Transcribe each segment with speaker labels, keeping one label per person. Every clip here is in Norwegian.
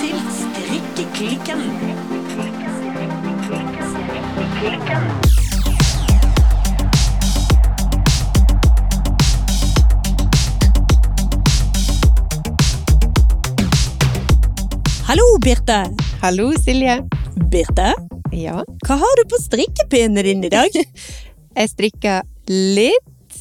Speaker 1: til Strikkeklikken. Hallo, Birte.
Speaker 2: Hallo, Silje.
Speaker 1: Birte,
Speaker 2: Ja,
Speaker 1: hva har du på strikkepinnen din i dag?
Speaker 2: jeg strikker litt.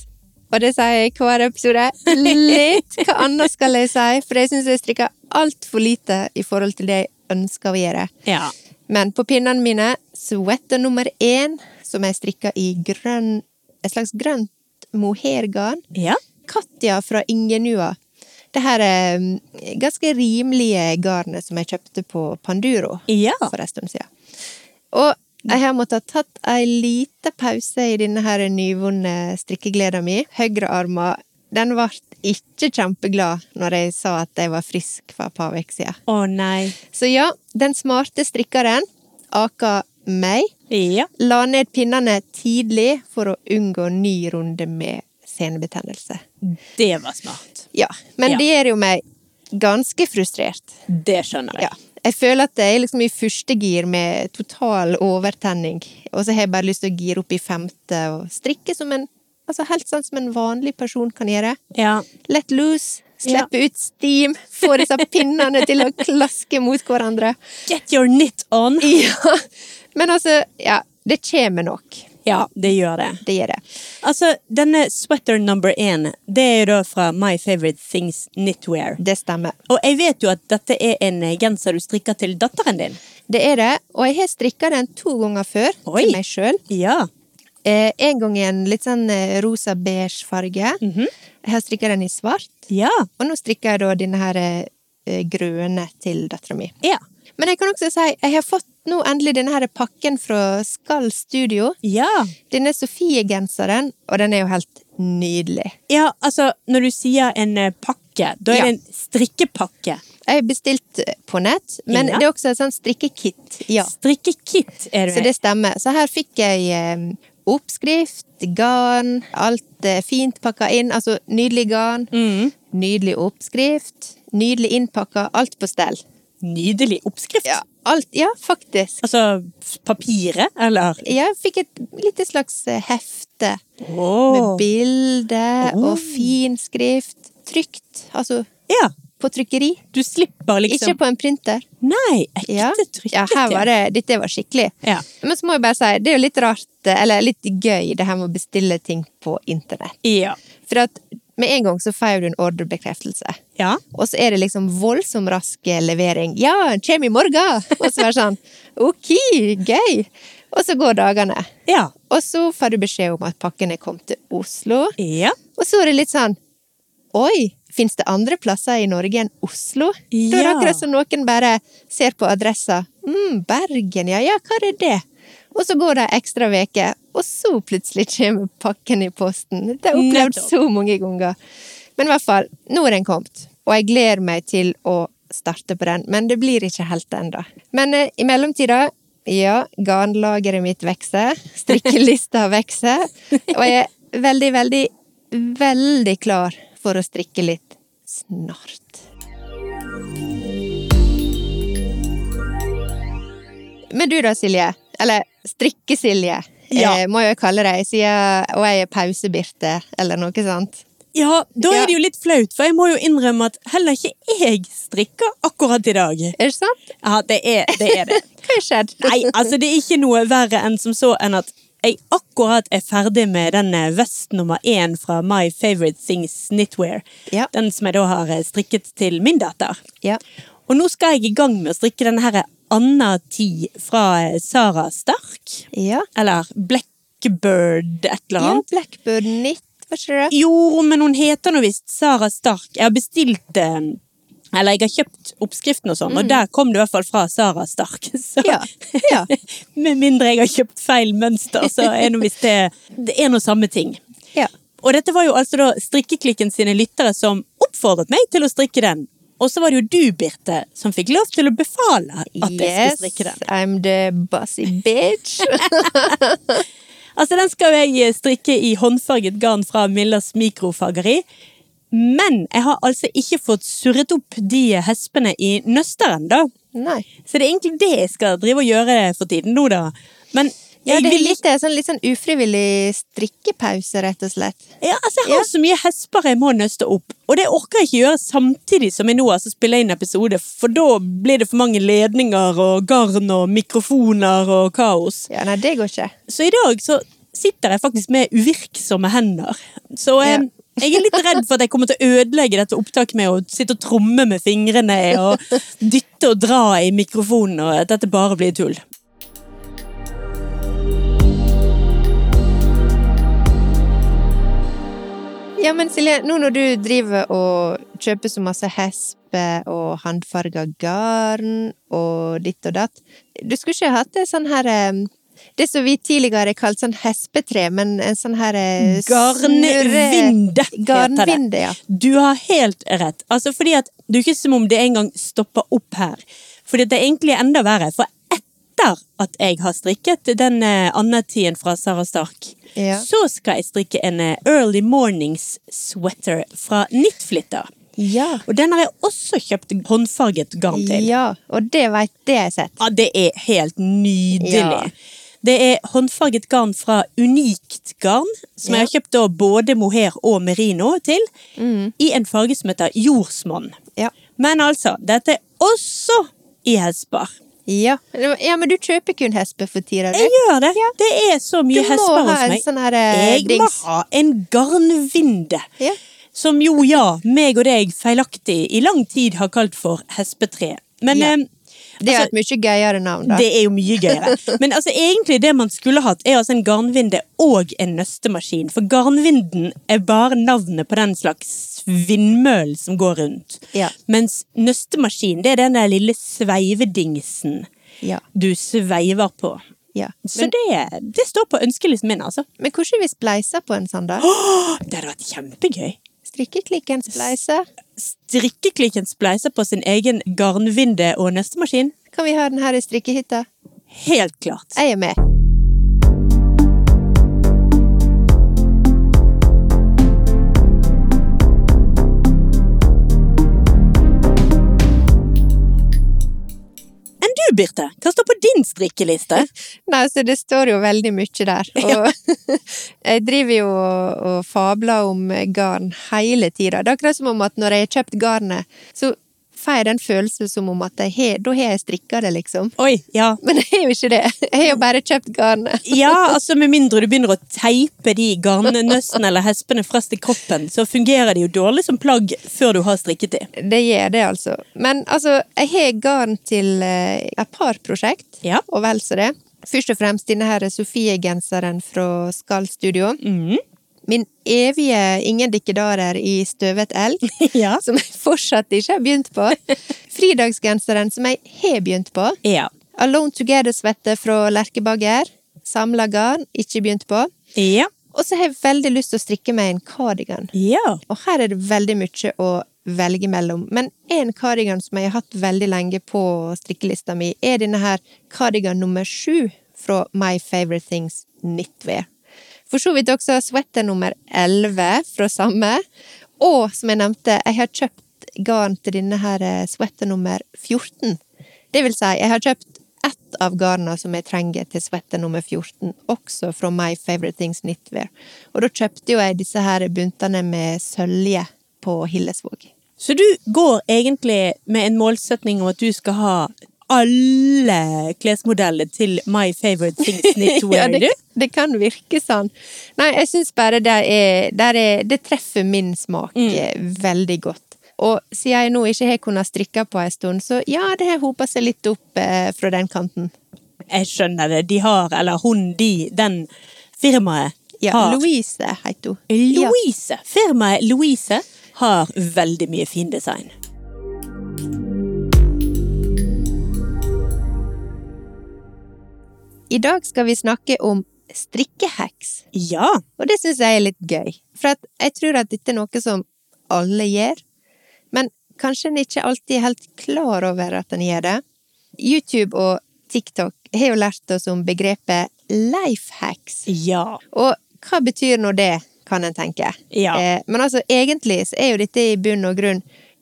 Speaker 2: Og det sier jeg i hver episode. Litt! Hva annet skal jeg si? For jeg syns jeg strikker altfor lite i forhold til det jeg ønsker å gjøre.
Speaker 1: Ja.
Speaker 2: Men på pinnene mine, sweater nummer én, som jeg strikker i grønn, et slags grønt mohairgarn.
Speaker 1: Ja?
Speaker 2: Katja fra Ingenua. Det her er mm, ganske rimelige garnet som jeg kjøpte på Panduro.
Speaker 1: Ja.
Speaker 2: for en stund siden. Og jeg har måttet ha tatt en liten pause i denne her nyvunne strikkegleden min. Høyrearmen, den ble ikke kjempeglad når jeg sa at jeg var frisk for et par uker siden.
Speaker 1: Å nei.
Speaker 2: Så ja, den smarte strikkeren aka meg.
Speaker 1: Ja.
Speaker 2: La ned pinnene tidlig for å unngå ny runde med senebetennelse.
Speaker 1: Det var smart.
Speaker 2: Ja, men
Speaker 1: Ja.
Speaker 2: det gjør jo meg ganske frustrert.
Speaker 1: Det skjønner jeg.
Speaker 2: Ja. Jeg føler at jeg er liksom i første gir med total overtenning, og så har jeg bare lyst til å gire opp i femte og strikke som en Altså helt sånn som en vanlig person kan gjøre.
Speaker 1: Ja.
Speaker 2: Let loose, slippe ut steam, få disse pinnene til å klaske mot hverandre.
Speaker 1: Get your knit on.
Speaker 2: Ja. Men altså, ja, det kommer nok.
Speaker 1: Ja, det gjør det.
Speaker 2: Det gjør det.
Speaker 1: Altså, denne sweater number én, det er jo da fra My Favorite Things Knitwear.
Speaker 2: Det stemmer.
Speaker 1: Og jeg vet jo at dette er en eh, genser du strikker til datteren din.
Speaker 2: Det er det, og jeg har strikka den to ganger før
Speaker 1: Oi.
Speaker 2: til meg sjøl.
Speaker 1: Ja.
Speaker 2: Eh, en gang i en litt sånn eh, rosa-beige farge. Jeg har strikka den i svart.
Speaker 1: Ja.
Speaker 2: Og nå strikker jeg da denne her eh, grønne til dattera mi.
Speaker 1: Ja.
Speaker 2: Men jeg kan også si, jeg har fått nå endelig denne her pakken fra Skall Studio.
Speaker 1: Ja.
Speaker 2: Denne Sofie-genseren, og den er jo helt nydelig.
Speaker 1: Ja, altså, når du sier en eh, pakke, da er
Speaker 2: Ja.
Speaker 1: det en strikkepakke.
Speaker 2: Jeg har bestilt eh, på nett, men
Speaker 1: Ja.
Speaker 2: det er også et sånt strikkekit. Ja,
Speaker 1: Strikkekit er
Speaker 2: så
Speaker 1: det.
Speaker 2: det stemmer. Så her fikk jeg eh, oppskrift, garn, alt eh, fint pakka inn. Altså nydelig garn,
Speaker 1: Mm.
Speaker 2: nydelig oppskrift, nydelig innpakka, alt på stell.
Speaker 1: Nydelig oppskrift.
Speaker 2: Ja, alt, ja faktisk.
Speaker 1: Altså papiret, eller?
Speaker 2: Jeg fikk et lite slags eh, hefte med
Speaker 1: Åh.
Speaker 2: bilde
Speaker 1: Åh.
Speaker 2: og fin skrift. Trykt, altså
Speaker 1: Ja.
Speaker 2: på trykkeri.
Speaker 1: Du slipper liksom
Speaker 2: Ikke på en printer.
Speaker 1: Nei, ekte
Speaker 2: Ja.
Speaker 1: trykkekit.
Speaker 2: ja, her var det, dette var skikkelig.
Speaker 1: Ja.
Speaker 2: Men så må jeg bare si, det er jo litt rart, eh, eller litt gøy, det her med å bestille ting på internett.
Speaker 1: Ja.
Speaker 2: For at med en gang så får du en ordrebekreftelse.
Speaker 1: Ja.
Speaker 2: Og så er det liksom voldsom rask eh, levering. Ja, kjem i morgen! Og så er det sånn, ok, gøy! Og så går dagene.
Speaker 1: Ja.
Speaker 2: Og så får du beskjed om at pakken er kommet til Oslo.
Speaker 1: Ja.
Speaker 2: Og så er det litt sånn Oi, fins det andre plasser i Norge enn Oslo? Da er det
Speaker 1: Ja.
Speaker 2: akkurat som noen bare ser på adressa. Mm, Bergen, ja, ja, hva er det? Og så går det ei ekstra uke, og så plutselig kommer pakken i posten. Det har jeg opplevd
Speaker 1: Nettopp.
Speaker 2: så mange ganger. Men i hvert fall, nå er den kommet, og jeg gleder meg til å starte på den. Men det blir ikke helt ennå. Men eh, i mellomtida ja, garnlageret mitt vokser. Strikkelista vokser. Og jeg er veldig, veldig, veldig klar for å strikke litt snart. Men du da, Silje? Eller Strikke-Silje,
Speaker 1: Ja.
Speaker 2: eh, må jeg kalle deg, siden og jeg er pause-Birte, eller noe sånt.
Speaker 1: Ja, da
Speaker 2: Ja.
Speaker 1: er det jo litt flaut, for jeg må jo innrømme at heller ikke jeg strikker akkurat i dag.
Speaker 2: Er det sant?
Speaker 1: Ja, det er det. Er det.
Speaker 2: Hva har skjedd?
Speaker 1: Nei, altså det er ikke noe verre enn som så enn at jeg akkurat er ferdig med den eh, vest nummer én fra My Favorite Things Knitwear.
Speaker 2: Ja.
Speaker 1: Den som jeg da har eh, strikket til min datter.
Speaker 2: Ja.
Speaker 1: Og nå skal jeg i gang med å strikke denne her eh, Anna 10 fra eh, Sara Stark.
Speaker 2: Ja.
Speaker 1: Eller Blackbird et eller
Speaker 2: ja
Speaker 1: annet.
Speaker 2: Blackbird Knit, var ikke det?
Speaker 1: Jo, men hun heter nå visst Sara Stark. Jeg har bestilt eh, Eller jeg har kjøpt oppskriften og sånn, og der kom det i hvert fall fra Sara Stark. Så
Speaker 2: Mm. Ja. ja.
Speaker 1: med mindre jeg har kjøpt feil mønster, så er nå visst det Det er nå samme ting.
Speaker 2: ja.
Speaker 1: Og dette var jo altså da Strikkeklikken sine lyttere som oppfordret meg til å strikke den. Og så var det jo du, Birte, som fikk lov til å befale at jeg skulle
Speaker 2: Yes,
Speaker 1: strikke den.
Speaker 2: I'm the bossy bitch.
Speaker 1: eh, Altså, den skal jeg strikke i håndfarget garn fra Millers mikrofageri. Men jeg har altså ikke fått surret opp de hespene i nøsteren, da.
Speaker 2: Nei.
Speaker 1: Så det er egentlig det jeg skal drive og gjøre for tiden nå, da. Men
Speaker 2: Ja,
Speaker 1: jeg
Speaker 2: det er
Speaker 1: vil
Speaker 2: litt, det er sånn, litt sånn ufrivillig strikkepause, rett og slett.
Speaker 1: Ja, altså Jeg har
Speaker 2: Ja.
Speaker 1: så mye hesper jeg må nøste opp, og det orker jeg ikke gjøre samtidig som jeg nå altså spiller inn episode, for da blir det for mange ledninger og garn og mikrofoner og kaos.
Speaker 2: Ja, nei, det går ikke.
Speaker 1: Så i dag så sitter jeg faktisk med uvirksomme hender. Så eh,
Speaker 2: Ja.
Speaker 1: jeg er litt redd for at jeg kommer til å ødelegge dette opptaket med å sitte og tromme med fingrene og dytte og dra i mikrofonen, og at dette bare blir tull.
Speaker 2: Ja, men Silje, nå når du driver og kjøper så masse hespe og håndfarga garn og ditt og datt Du skulle ikke hatt det sånn her eh, Det som vi tidligere kalte sånn hespetre, men en sånn her eh, snurre-
Speaker 1: Garnvinde, heter det.
Speaker 2: Garnvinde, ja.
Speaker 1: Du har helt rett. Altså, fordi at Det er jo ikke som om det engang stopper opp her. Fordi at det er egentlig enda verre. For etter at jeg har strikket den eh, Anna-tien fra Sara Stark,
Speaker 2: Ja.
Speaker 1: så skal jeg strikke en eh, Early Mornings sweater fra Knitflitter.
Speaker 2: Ja.
Speaker 1: Og den har jeg også kjøpt håndfarget garn til.
Speaker 2: ja. Og det veit det har jeg sett.
Speaker 1: Ja, det er helt nydelig.
Speaker 2: Ja.
Speaker 1: Det er håndfarget garn fra Unikt garn, som
Speaker 2: Ja.
Speaker 1: jeg har kjøpt da både mohair og merino til,
Speaker 2: Mm.
Speaker 1: i en farge som heter jordsmonn.
Speaker 2: Ja.
Speaker 1: Men altså, dette er også i hesper.
Speaker 2: Ja. ja, men du kjøper kun hespe for tida, du.
Speaker 1: Jeg gjør det. Det er så mye
Speaker 2: Du må
Speaker 1: hesper
Speaker 2: ha
Speaker 1: hos
Speaker 2: en
Speaker 1: meg.
Speaker 2: sånn her, eh,
Speaker 1: jeg må
Speaker 2: dings.
Speaker 1: ha en garnvinde.
Speaker 2: Ja.
Speaker 1: Som jo, ja, meg og deg feilaktig i lang tid har kalt for hespetre. Men
Speaker 2: Ja. altså
Speaker 1: eh,
Speaker 2: Det er jo et mye gøyere navn, da.
Speaker 1: Det er jo mye gøyere. Men altså, egentlig det man skulle hatt, er altså en garnvinde og en nøstemaskin. For garnvinden er bare navnet på den slags vindmøllen som går rundt.
Speaker 2: Ja.
Speaker 1: Mens nøstemaskinen, det er den der lille sveivedingsen
Speaker 2: Ja.
Speaker 1: du sveiver på.
Speaker 2: ja.
Speaker 1: Så det, det står på ønskelisten min, altså.
Speaker 2: Men hvordan vi spleiser på en sånn, da?
Speaker 1: Å, Det hadde vært kjempegøy.
Speaker 2: Strikkeklikken spleiser.
Speaker 1: Strikkeklikken spleiser på sin egen garnvinde og nøstemaskin.
Speaker 2: Kan vi ha den her i strikkehytta?
Speaker 1: Helt klart.
Speaker 2: Jeg er med.
Speaker 1: Enn du, Birte? Hva står på din strikkeliste?
Speaker 2: Nei, så det står jo veldig mye der. Og jeg driver jo og, og fabler om garn hele tida. Det er akkurat som om at når jeg har kjøpt garnet, så får jeg den følelsen som om at jeg har, da har jeg strikka det, liksom.
Speaker 1: Oi, ja.
Speaker 2: Men jeg har jo ikke det. Jeg har jo bare kjøpt garnet.
Speaker 1: Ja, altså med mindre du begynner å teipe de garnnøstene eller hespene fast i kroppen, så fungerer de jo dårlig som plagg før du har strikket de.
Speaker 2: Det gjør det, altså. Men altså, jeg har garn til eh, et par prosjekt,
Speaker 1: Ja.
Speaker 2: og vel så det. Først og fremst denne her Sofie-genseren fra Skall Studio.
Speaker 1: Mhm.
Speaker 2: Min evige ingen dikkedarer i støvet elg,
Speaker 1: Ja.
Speaker 2: som jeg fortsatt ikke har begynt på. Fridagsgenseren som jeg har begynt på.
Speaker 1: Ja.
Speaker 2: Alone Together-svette fra Lerkebagger. Samla garn, ikke begynt på.
Speaker 1: Ja.
Speaker 2: Og så har jeg veldig lyst til å strikke meg en cardigan.
Speaker 1: Ja.
Speaker 2: Og her er det veldig mye å velge mellom. Men en cardigan som jeg har hatt veldig lenge på strikkelista mi, er denne her cardigan nummer sju fra My Favorite Things Knitwear. For så vidt også sweater nummer elleve fra samme. Og som jeg nevnte, jeg har kjøpt garn til denne her eh, sweater nummer 14. Det vil si, jeg har kjøpt ett av garna som jeg trenger til sweater nummer 14, også fra My Favorite Things Knitwear. Og da kjøpte jo jeg disse her buntene med sølje på Hillesvåg.
Speaker 1: Så du går egentlig med en målsetning om at du skal ha alle klesmodellene til My Favorite Things Knitwear,
Speaker 2: det,
Speaker 1: du?
Speaker 2: det kan virke sånn. Nei, jeg syns bare det er, der er Det treffer min smak
Speaker 1: Mm.
Speaker 2: eh, veldig godt. Og siden jeg nå ikke har kunnet strikke på en stund, så ja, det har hopa seg litt opp eh, fra den kanten.
Speaker 1: Jeg skjønner det. De har, eller hun, de, den firmaet
Speaker 2: Ja,
Speaker 1: har
Speaker 2: Louise heter hun. Ja.
Speaker 1: Louise. Firmaet Louise har veldig mye fin design.
Speaker 2: I dag skal vi snakke om strikkehacks.
Speaker 1: Ja.
Speaker 2: Og det syns jeg er litt gøy. For at jeg tror at dette er noe som alle gjør, men kanskje en ikke alltid er helt klar over at en gjør det. YouTube og TikTok har jo lært oss om begrepet life hacks.
Speaker 1: Ja.
Speaker 2: Og hva betyr nå det? kan en tenke.
Speaker 1: Ja.
Speaker 2: Eh, men altså, egentlig så er jo dette i bunn og grunn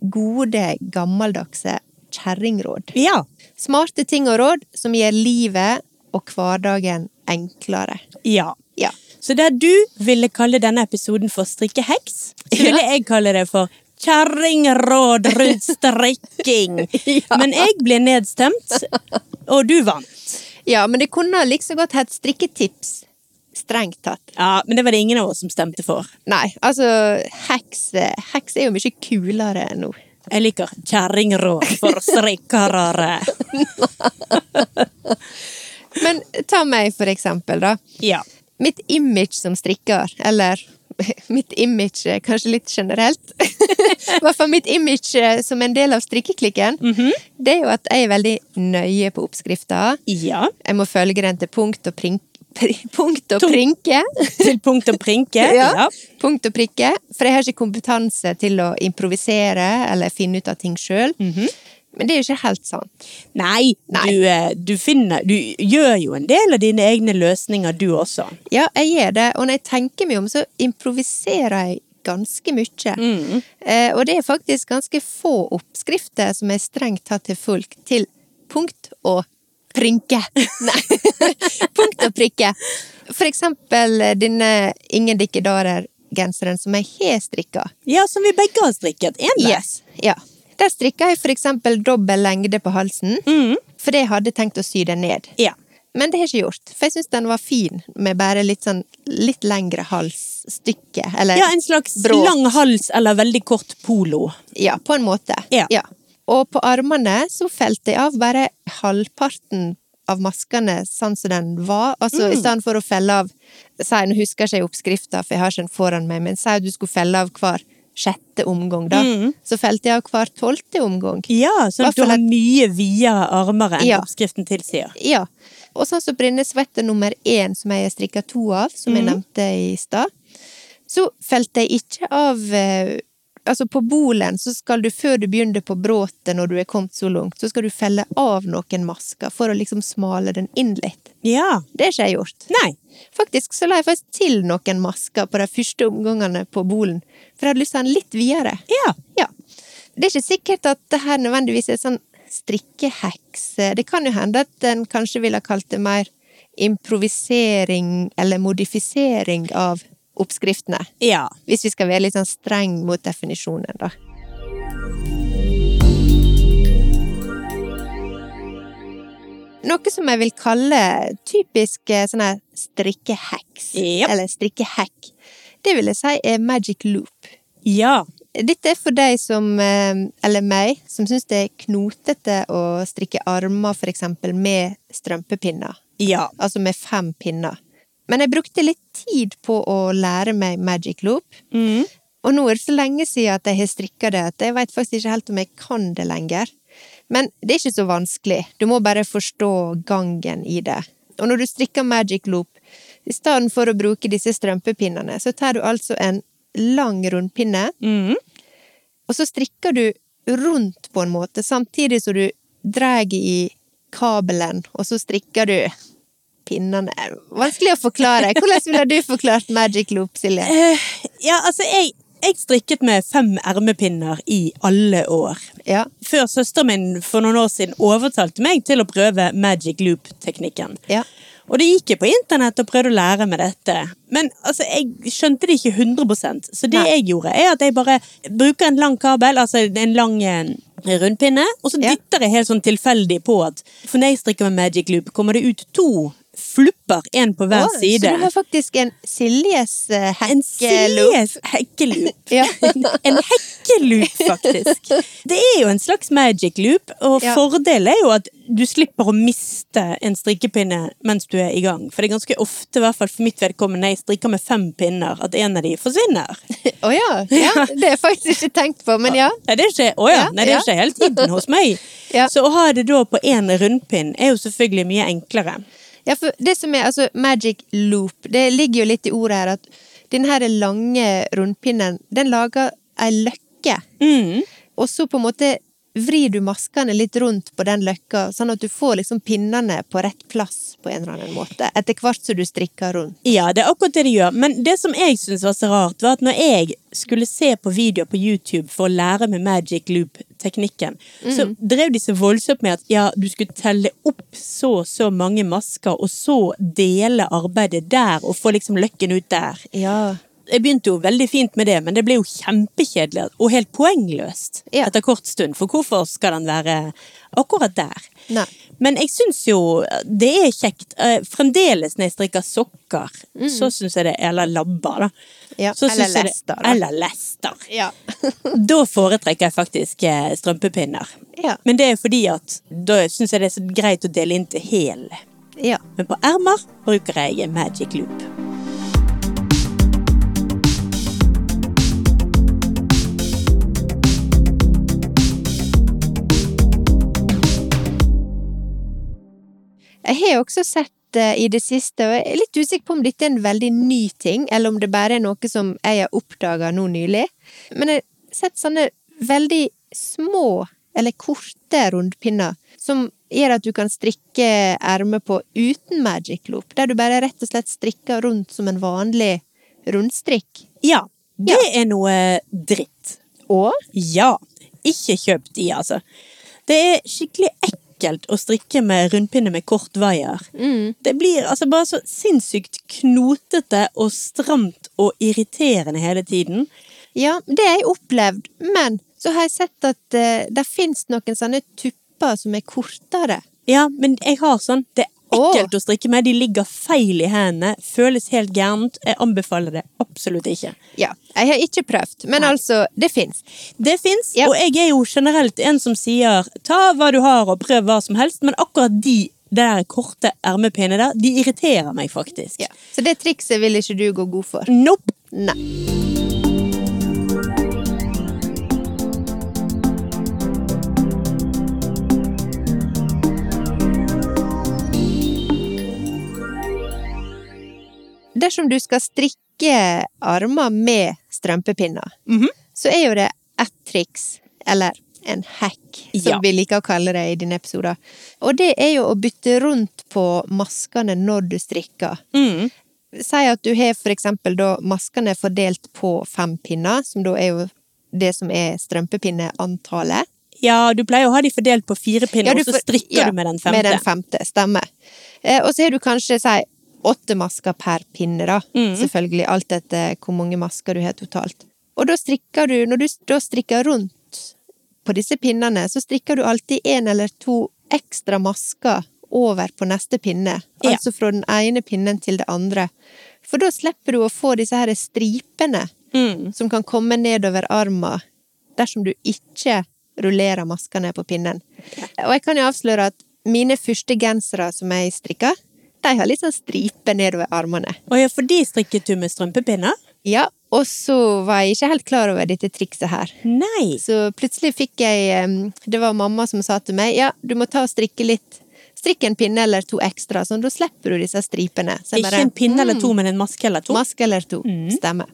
Speaker 2: gode, gammeldagse kjerringråd.
Speaker 1: Ja.
Speaker 2: Smarte ting og råd som gjør livet og hverdagen enklere.
Speaker 1: ja.
Speaker 2: Ja.
Speaker 1: Så der du ville kalle denne episoden for strikkeheks, så ville jeg kalle det for kjerringråd rundt strikking.
Speaker 2: Ja.
Speaker 1: Men jeg ble nedstemt, og du vant.
Speaker 2: Ja, men det kunne liksom godt hett strikketips. Strengt tatt.
Speaker 1: Ja, Men det var det ingen av oss som stemte for.
Speaker 2: Nei, altså, heks, heks er jo mye kulere nå.
Speaker 1: Jeg liker kjerringråd for strikkere.
Speaker 2: Men ta meg for eksempel, da.
Speaker 1: Ja.
Speaker 2: Mitt image som strikker, eller mitt image eh, kanskje litt generelt I hvert fall mitt image eh, som en del av strikkeklikken, det er jo at jeg er veldig nøye på oppskrifta.
Speaker 1: Ja.
Speaker 2: Jeg må følge den til punkt og prink... Pri, punkt og
Speaker 1: Tung-
Speaker 2: prinke.
Speaker 1: Til punkt og prinke. Ja.
Speaker 2: Punkt og prikke. For jeg har ikke kompetanse til å improvisere eller finne ut av ting sjøl. Men det er jo ikke helt sant.
Speaker 1: Nei,
Speaker 2: Nei.
Speaker 1: Du, eh, du finner Du gjør jo en del av dine egne løsninger, du også.
Speaker 2: Ja, jeg gjør det, og når jeg tenker meg om, så improviserer jeg ganske mye. Eh, og det er faktisk ganske få oppskrifter som er strengt tatt til folk til punkt og prinke. Nei, punkt og prikke. For eksempel eh, denne Ingen dikkedarer-genseren som jeg har strikka.
Speaker 1: Ja, som vi begge har strikket. En hver.
Speaker 2: Yes, ja. Der strikka jeg for eksempel dobbel lengde på halsen,
Speaker 1: Mm.
Speaker 2: for jeg hadde tenkt å sy den ned.
Speaker 1: Ja.
Speaker 2: Men det har jeg ikke gjort, for jeg syns den var fin med bare litt sånn litt lengre halsstykke. Eller
Speaker 1: ja, en slags
Speaker 2: bråk.
Speaker 1: lang hals eller veldig kort polo.
Speaker 2: Ja, på en måte.
Speaker 1: Ja.
Speaker 2: Og på armene så felte jeg av bare halvparten av maskene sånn som den var.
Speaker 1: Mm.
Speaker 2: Altså i stedet for å felle av si, Nå husker jeg ikke oppskrifta, for jeg har ikke den foran meg, men si at du skulle felle av hver sjette omgang, da.
Speaker 1: Mm.
Speaker 2: Så felte jeg av hver tolvte omgang.
Speaker 1: Ja, sånn at du
Speaker 2: Hvertfall
Speaker 1: har
Speaker 2: et-
Speaker 1: mye videre armer enn
Speaker 2: Ja.
Speaker 1: oppskriften tilsier.
Speaker 2: Ja. Og sånn som brinnesvette nummer én, som jeg strikka to av, som jeg nevnte i stad, så felte jeg ikke av eh, Altså, på bolen så skal du, før du begynner på bråtet, når du er kommet så langt, så skal du felle av noen masker for å liksom smale den inn litt.
Speaker 1: Ja.
Speaker 2: Det har ikke jeg gjort.
Speaker 1: Nei.
Speaker 2: Faktisk så la jeg faktisk til noen masker på de første omgangene på bolen, for jeg hadde lyst til å ha den litt videre.
Speaker 1: Ja.
Speaker 2: Ja. Det er ikke sikkert at det her nødvendigvis er sånn strikkeheks. Det kan jo hende at en kanskje ville ha kalt det mer improvisering eller modifisering av oppskriftene.
Speaker 1: Ja.
Speaker 2: Hvis vi skal være litt sånn streng mot definisjonen, da. Noe som jeg vil kalle typisk eh, sånn her strikkeheks,
Speaker 1: Japp.
Speaker 2: eller strikkehack, det vil jeg si er magic loop.
Speaker 1: Ja.
Speaker 2: Dette er for deg som, eh, eller meg, som syns det er knotete å strikke armer for eksempel med strømpepinner.
Speaker 1: Ja.
Speaker 2: Altså med fem pinner. Men jeg brukte litt tid på å lære meg magic loop.
Speaker 1: Mm.
Speaker 2: Og nå er det så lenge siden at jeg har strikka det at jeg vet faktisk ikke helt om jeg kan det lenger. Men det er ikke så vanskelig. Du må bare forstå gangen i det. Og når du strikker magic loop, i stedet for å bruke disse strømpepinnene, så tar du altså en lang rundpinne.
Speaker 1: Mm.
Speaker 2: Og så strikker du rundt på en måte, samtidig som du drar i kabelen, og så strikker du pinnene. Vanskelig å forklare. Hvordan ville du forklart magic loop, Silje?
Speaker 1: Eh, ja, altså, jeg, jeg strikket med fem ermepinner i alle år.
Speaker 2: Ja,
Speaker 1: før søsteren min for noen år siden overtalte meg til å prøve magic loop-teknikken.
Speaker 2: ja,
Speaker 1: Og det gikk jeg på internett og prøvde å lære meg dette. Men altså, jeg skjønte det ikke 100 så det
Speaker 2: Nei.
Speaker 1: jeg gjorde, er at jeg bare bruker en lang kabel, altså en lang eh, rundpinne, og så
Speaker 2: Ja.
Speaker 1: dytter jeg helt sånn tilfeldig på at For når jeg strikker med magic loop, kommer det ut to flupper, én på hver
Speaker 2: Å,
Speaker 1: side.
Speaker 2: Så du har faktisk en Siljes eh,
Speaker 1: En
Speaker 2: hekkeloop.
Speaker 1: Siljes hekkeloop.
Speaker 2: Ja.
Speaker 1: En hekkeloop, faktisk. Det er jo en slags magic loop, og
Speaker 2: Ja.
Speaker 1: fordelen er jo at du slipper å miste en strikkepinne mens du er i gang. For det er ganske ofte, i hvert fall for mitt vedkommende, jeg strikker med fem pinner, at en av de forsvinner.
Speaker 2: Å ja. ja. Det har jeg faktisk ikke tenkt på, men ja.
Speaker 1: Nei, det er ikke, å ja,
Speaker 2: Ja,
Speaker 1: nei, det er
Speaker 2: ja.
Speaker 1: ikke hele tiden hos meg.
Speaker 2: Ja.
Speaker 1: Så å ha det da på én rundpinn er jo selvfølgelig mye enklere.
Speaker 2: Ja, for det som er altså magic loop, det ligger jo litt i ordet her at den her lange rundpinnen, den lager ei løkke.
Speaker 1: Mm.
Speaker 2: Og så på en måte vrir du maskene litt rundt på den løkka, sånn at du får liksom pinnene på rett plass på en eller annen måte, etter hvert som du strikker rundt.
Speaker 1: Ja, det er akkurat det de gjør. Men det som jeg syntes var så rart, var at når jeg skulle se på videoer på YouTube for å lære meg magic loop-teknikken, så drev de så voldsomt med at ja, du skulle telle opp så og så mange masker, og så dele arbeidet der, og få liksom løkken ut der.
Speaker 2: Ja.
Speaker 1: Jeg begynte jo veldig fint med det, men det ble jo kjempekjedelig og helt poengløst
Speaker 2: Ja.
Speaker 1: etter kort stund. For hvorfor skal den være akkurat der?
Speaker 2: Nei.
Speaker 1: Men jeg syns jo det er kjekt. eh, Fremdeles når jeg strikker sokker, så syns jeg det Eller labber, da.
Speaker 2: Mm. Ja,
Speaker 1: så
Speaker 2: eller
Speaker 1: synes jeg det-
Speaker 2: lester, da.
Speaker 1: Eller lester.
Speaker 2: Ja.
Speaker 1: Da foretrekker jeg faktisk eh, strømpepinner.
Speaker 2: Ja.
Speaker 1: Men det er fordi at da syns jeg det er så greit å dele inn til hel.
Speaker 2: ja.
Speaker 1: Men på ermer bruker jeg magic loop.
Speaker 2: Jeg har også sett eh, i det siste, og jeg er litt usikker på om dette er en veldig ny ting, eller om det bare er noe som jeg har oppdaga nå nylig. Men jeg har sett sånne veldig små, eller korte rundpinner, som gjør at du kan strikke ermet på uten magic loop, der du bare rett og slett strikker rundt som en vanlig rundstrikk.
Speaker 1: Ja, det er noe dritt.
Speaker 2: Og
Speaker 1: Ja, ikke kjøp de, altså. Det er skikkelig ekkelt å strikke med rundpinne med kort vaier.
Speaker 2: Mm.
Speaker 1: Det blir altså bare så sinnssykt knotete og stramt og irriterende hele tiden.
Speaker 2: Ja, det har jeg opplevd, men så har jeg sett at eh, det finnes noen sånne tupper som er kortere.
Speaker 1: Ja, men jeg har sånn. Det er
Speaker 2: Åh.
Speaker 1: ekkelt å strikke med. De ligger feil i hendene. Føles helt gærent. Jeg anbefaler det absolutt ikke.
Speaker 2: Ja, jeg har ikke prøvd, men altså, det finnes.
Speaker 1: Det fins,
Speaker 2: Ja.
Speaker 1: og jeg er jo generelt en som sier ta hva du har og prøv hva som helst, men akkurat de det der korte ermepinnene der, de irriterer meg faktisk.
Speaker 2: Ja. Så det trikset vil ikke du gå god for.
Speaker 1: Nope!
Speaker 2: Nei. Dersom du skal strikke armer med strømpepinner, så er jo det ett triks, eller en hack, som
Speaker 1: Ja.
Speaker 2: vi liker å kalle det i dine episoder. Og det er jo å bytte rundt på maskene når du strikker.
Speaker 1: Mm.
Speaker 2: Si at du har for eksempel da maskene fordelt på fem pinner, som da er jo det som er strømpepinneantallet.
Speaker 1: Ja, du pleier å ha de fordelt på fire pinner,
Speaker 2: du
Speaker 1: og så
Speaker 2: får-
Speaker 1: strikker
Speaker 2: ja,
Speaker 1: du med den femte.
Speaker 2: Med den femte, stemmer. Eh, og så har du kanskje, si, åtte masker per pinne, da.
Speaker 1: Mhm.
Speaker 2: Selvfølgelig, alt etter hvor mange masker du har totalt. Og da strikker du, når du da strikker rundt på disse pinnene, så strikker du alltid en eller to ekstra masker over på neste pinne.
Speaker 1: Ja.
Speaker 2: Altså fra den ene pinnen til det andre. For da slipper du å få disse her stripene
Speaker 1: Mm.
Speaker 2: som kan komme nedover armen dersom du ikke rullerer maskene på pinnen. Og jeg kan jo avsløre at mine første gensere som jeg strikka, de har litt sånn stripe nedover armene.
Speaker 1: Og ja, for de strikket du med strømpepinner?
Speaker 2: Ja, og så var jeg ikke helt klar over dette trikset her.
Speaker 1: Nei.
Speaker 2: Så plutselig fikk jeg em, Det var mamma som sa til meg ja, du må ta og strikke litt. Strikk en pinne eller to ekstra, sånn da slipper du disse stripene. Så jeg
Speaker 1: Ikke en pinne eller
Speaker 2: Mm.
Speaker 1: to, men en maske eller to. Mm.
Speaker 2: Maske eller to. Stemmer.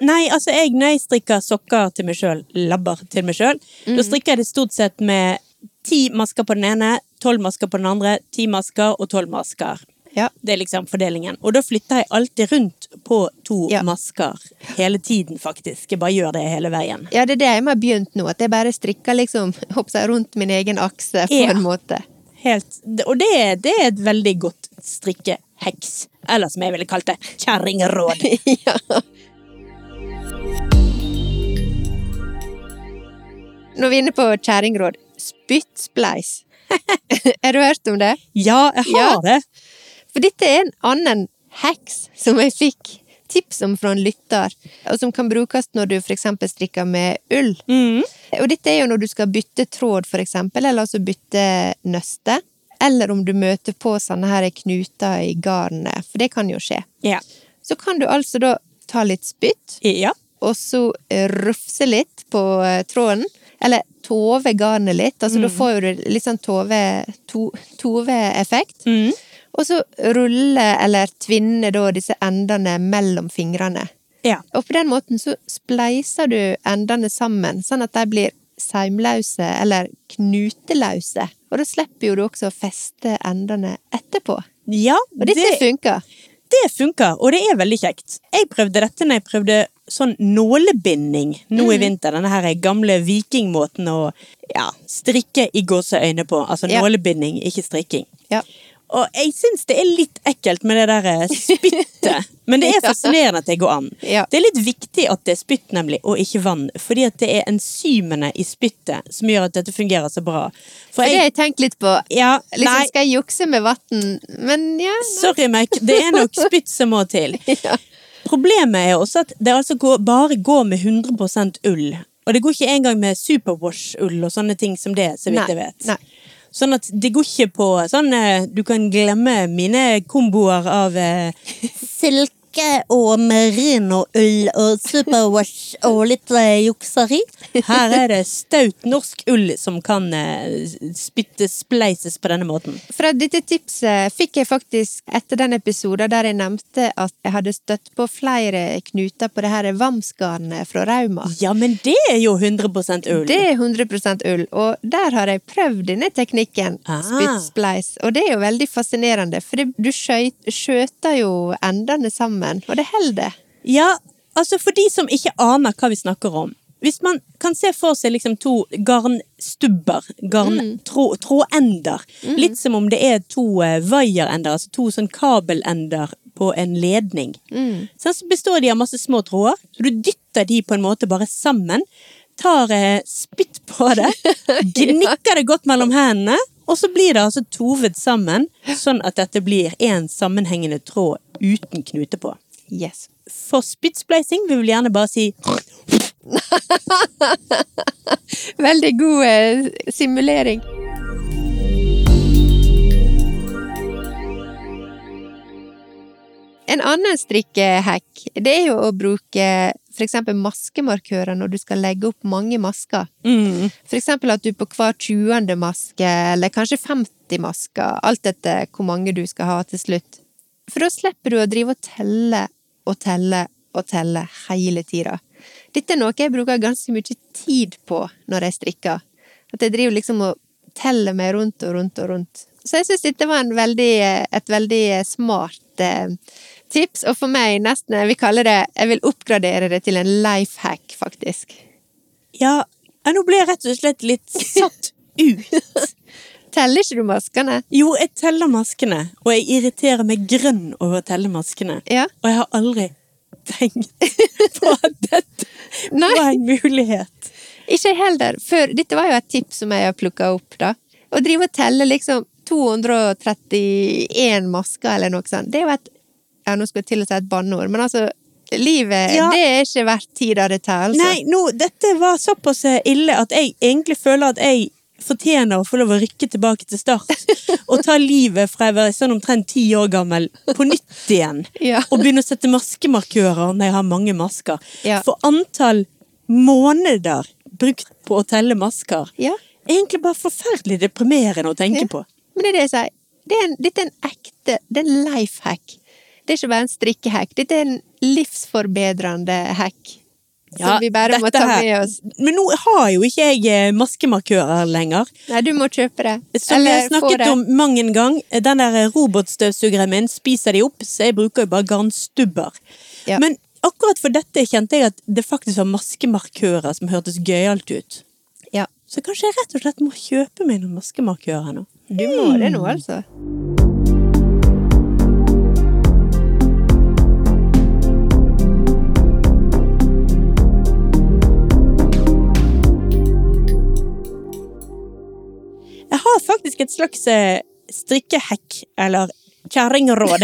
Speaker 1: Nei, altså jeg, når jeg strikker sokker til meg sjøl, labber til meg sjøl,
Speaker 2: Mm.
Speaker 1: da strikker jeg det stort sett med ti masker på den ene, tolv masker på den andre, ti masker og tolv masker.
Speaker 2: Ja.
Speaker 1: Det er liksom fordelingen. Og da flytter jeg alltid rundt på to
Speaker 2: Ja.
Speaker 1: masker. Hele tiden, faktisk. Jeg bare gjør det hele veien.
Speaker 2: Ja, det er det jeg har begynt nå, at jeg bare strikker liksom hoppsa, rundt min egen akse på
Speaker 1: Ja.
Speaker 2: en måte.
Speaker 1: Helt. Og det, er- det er et veldig godt strikkeheks. Eller som jeg ville kalt det, kjerringråd.
Speaker 2: ja. Nå er vi inne på kjerringråd. Spyttspleis. har du hørt om det?
Speaker 1: Ja, jeg har
Speaker 2: Ja.
Speaker 1: det.
Speaker 2: For dette er en annen heks som jeg fikk tips om fra en lytter, og som kan brukes når du f.eks. strikker med ull.
Speaker 1: Mm.
Speaker 2: Og dette er jo når du skal bytte tråd, for eksempel, eller altså bytte nøste. Eller om du møter på sånne her knuter i garnet, for det kan jo skje.
Speaker 1: Ja.
Speaker 2: Så kan du altså da ta litt spytt,
Speaker 1: ja.
Speaker 2: og så rufse litt på eh, tråden. Eller tove garnet litt, altså
Speaker 1: Mm.
Speaker 2: da får du litt sånn tove- to- tove-effekt.
Speaker 1: Mm.
Speaker 2: og så rulle eller tvinne da disse endene mellom fingrene.
Speaker 1: ja.
Speaker 2: Og på den måten så spleiser du endene sammen, sånn at de blir seimløse eller knuteløse. Og da slipper jo du også å feste endene etterpå.
Speaker 1: Ja,
Speaker 2: Og dette
Speaker 1: det,
Speaker 2: funker.
Speaker 1: det funker, og det er veldig kjekt. Jeg prøvde dette når jeg prøvde sånn nålebinding nå
Speaker 2: Mm.
Speaker 1: i vinter. Denne her gamle vikingmåten å ja, strikke i gåseøyne på. Altså
Speaker 2: Ja.
Speaker 1: nålebinding, ikke strikking.
Speaker 2: Ja.
Speaker 1: Og jeg syns det er litt ekkelt med det der eh, spyttet, men det er
Speaker 2: Ja.
Speaker 1: fascinerende at det går an.
Speaker 2: Ja.
Speaker 1: Det er litt viktig at det er spytt, nemlig, og ikke vann, fordi at det er enzymene i spyttet som gjør at dette fungerer så bra. For
Speaker 2: Og det har
Speaker 1: jeg
Speaker 2: jeg tenkt litt på.
Speaker 1: Ja,
Speaker 2: Liksom,
Speaker 1: nei,
Speaker 2: skal jeg jukse med vann? Men ja.
Speaker 1: sorry, Mac, det er nok spytt som må til.
Speaker 2: ja.
Speaker 1: Problemet er også at det altså går, bare går med 100 ull. Og det går ikke engang med superwash-ull og sånne ting som det, så vidt
Speaker 2: Nei,
Speaker 1: jeg vet.
Speaker 2: nei.
Speaker 1: Sånn at det går ikke på sånn eh, Du kan glemme mine komboer av eh, silke og merino-ull og superwash og litt eh, jukseri. Her er det staut norsk ull som kan eh, spytte spleises på denne måten.
Speaker 2: Fra dette tipset fikk jeg faktisk etter den episoden der jeg nevnte at jeg hadde støtt på flere knuter på det her vamsgarnet fra Rauma.
Speaker 1: Ja, men det er jo 100 ull.
Speaker 2: Det er 100 ull, og der har jeg prøvd denne teknikken,
Speaker 1: Ah.
Speaker 2: spytt-spleis, og det er jo veldig fascinerende, for det, du skjøt- skjøter jo endene sammen, og det holder.
Speaker 1: Ja, altså for de som ikke aner hva vi snakker om. Hvis man kan se for seg liksom to garnstubber, garntrå- trådender, litt som om det er to eh, vaierender, altså to sånn kabelender på en ledning. Sånn, så består de av masse små tråder, så du dytter de på en måte bare sammen, tar eh, spytt på det, gnikker det godt mellom hendene, og så blir det altså tovet sammen, sånn at dette blir en sammenhengende tråd uten knute på.
Speaker 2: Yes.
Speaker 1: For spyttspleising vil vi gjerne bare si
Speaker 2: Veldig god eh, simulering. En annen strikkehack, det er jo å bruke for eksempel maskemarkører når du skal legge opp mange masker.
Speaker 1: mm,
Speaker 2: For eksempel at du på hver 20. maske, eller kanskje 50 masker, alt etter hvor mange du skal ha til slutt. For da slipper du å drive og telle og telle og telle hele tida. Dette er noe jeg bruker ganske mye tid på når jeg strikker. At jeg driver liksom og teller meg rundt og rundt og rundt. Så jeg syns dette var en veldig, et veldig smart eh, tips, og for meg nesten Jeg vil kalle det Jeg vil oppgradere det til en life hack, faktisk.
Speaker 1: Ja, ja, nå ble jeg rett og slett litt satt ut.
Speaker 2: Teller ikke du maskene?
Speaker 1: Jo, jeg teller maskene, og jeg irriterer meg grønn over å telle maskene.
Speaker 2: Ja.
Speaker 1: Og jeg har aldri tenkt på at dette
Speaker 2: Nei.
Speaker 1: var en mulighet.
Speaker 2: Ikke jeg heller. Før, dette var jo et tips som jeg har plukka opp, da. Å drive og telle liksom 231 masker eller noe sånt, det er jo et Ja, nå skulle jeg til å si et banneord, men altså Livet,
Speaker 1: Ja.
Speaker 2: det er ikke verdt tid av det tar, altså.
Speaker 1: Nei, nå, dette var såpass eh, ille at jeg egentlig føler at jeg fortjener å få lov å rykke tilbake til start og ta livet fra jeg var sånn omtrent ti år gammel på nytt igjen.
Speaker 2: Ja.
Speaker 1: Og begynne å sette maskemarkører når jeg har mange masker.
Speaker 2: Ja.
Speaker 1: For antall måneder brukt på å telle masker
Speaker 2: Ja.
Speaker 1: er egentlig bare forferdelig deprimerende å tenke
Speaker 2: Ja.
Speaker 1: på.
Speaker 2: Men det er det jeg sier. Det er en, dette er en ekte Det er en life hack. Det er ikke bare en strikkehack. Dette er en livsforbedrende hack.
Speaker 1: Ja,
Speaker 2: som vi bare må
Speaker 1: dette
Speaker 2: ta
Speaker 1: her-
Speaker 2: med oss.
Speaker 1: Men nå har jo ikke jeg eh, maskemarkører lenger.
Speaker 2: Nei, du må kjøpe det.
Speaker 1: Som vi har
Speaker 2: Eller få
Speaker 1: snakket
Speaker 2: det.
Speaker 1: om mang en gang, den der robotstøvsugeren min spiser de opp, så jeg bruker jo bare garnstubber.
Speaker 2: Ja.
Speaker 1: Men akkurat for dette kjente jeg at det faktisk var maskemarkører som hørtes gøyalt ut.
Speaker 2: Ja.
Speaker 1: Så kanskje jeg rett og slett må kjøpe meg noen maskemarkører nå.
Speaker 2: Du må det nå, altså.
Speaker 1: Jeg har faktisk et slags eh, strikkehekk, eller kjerringråd,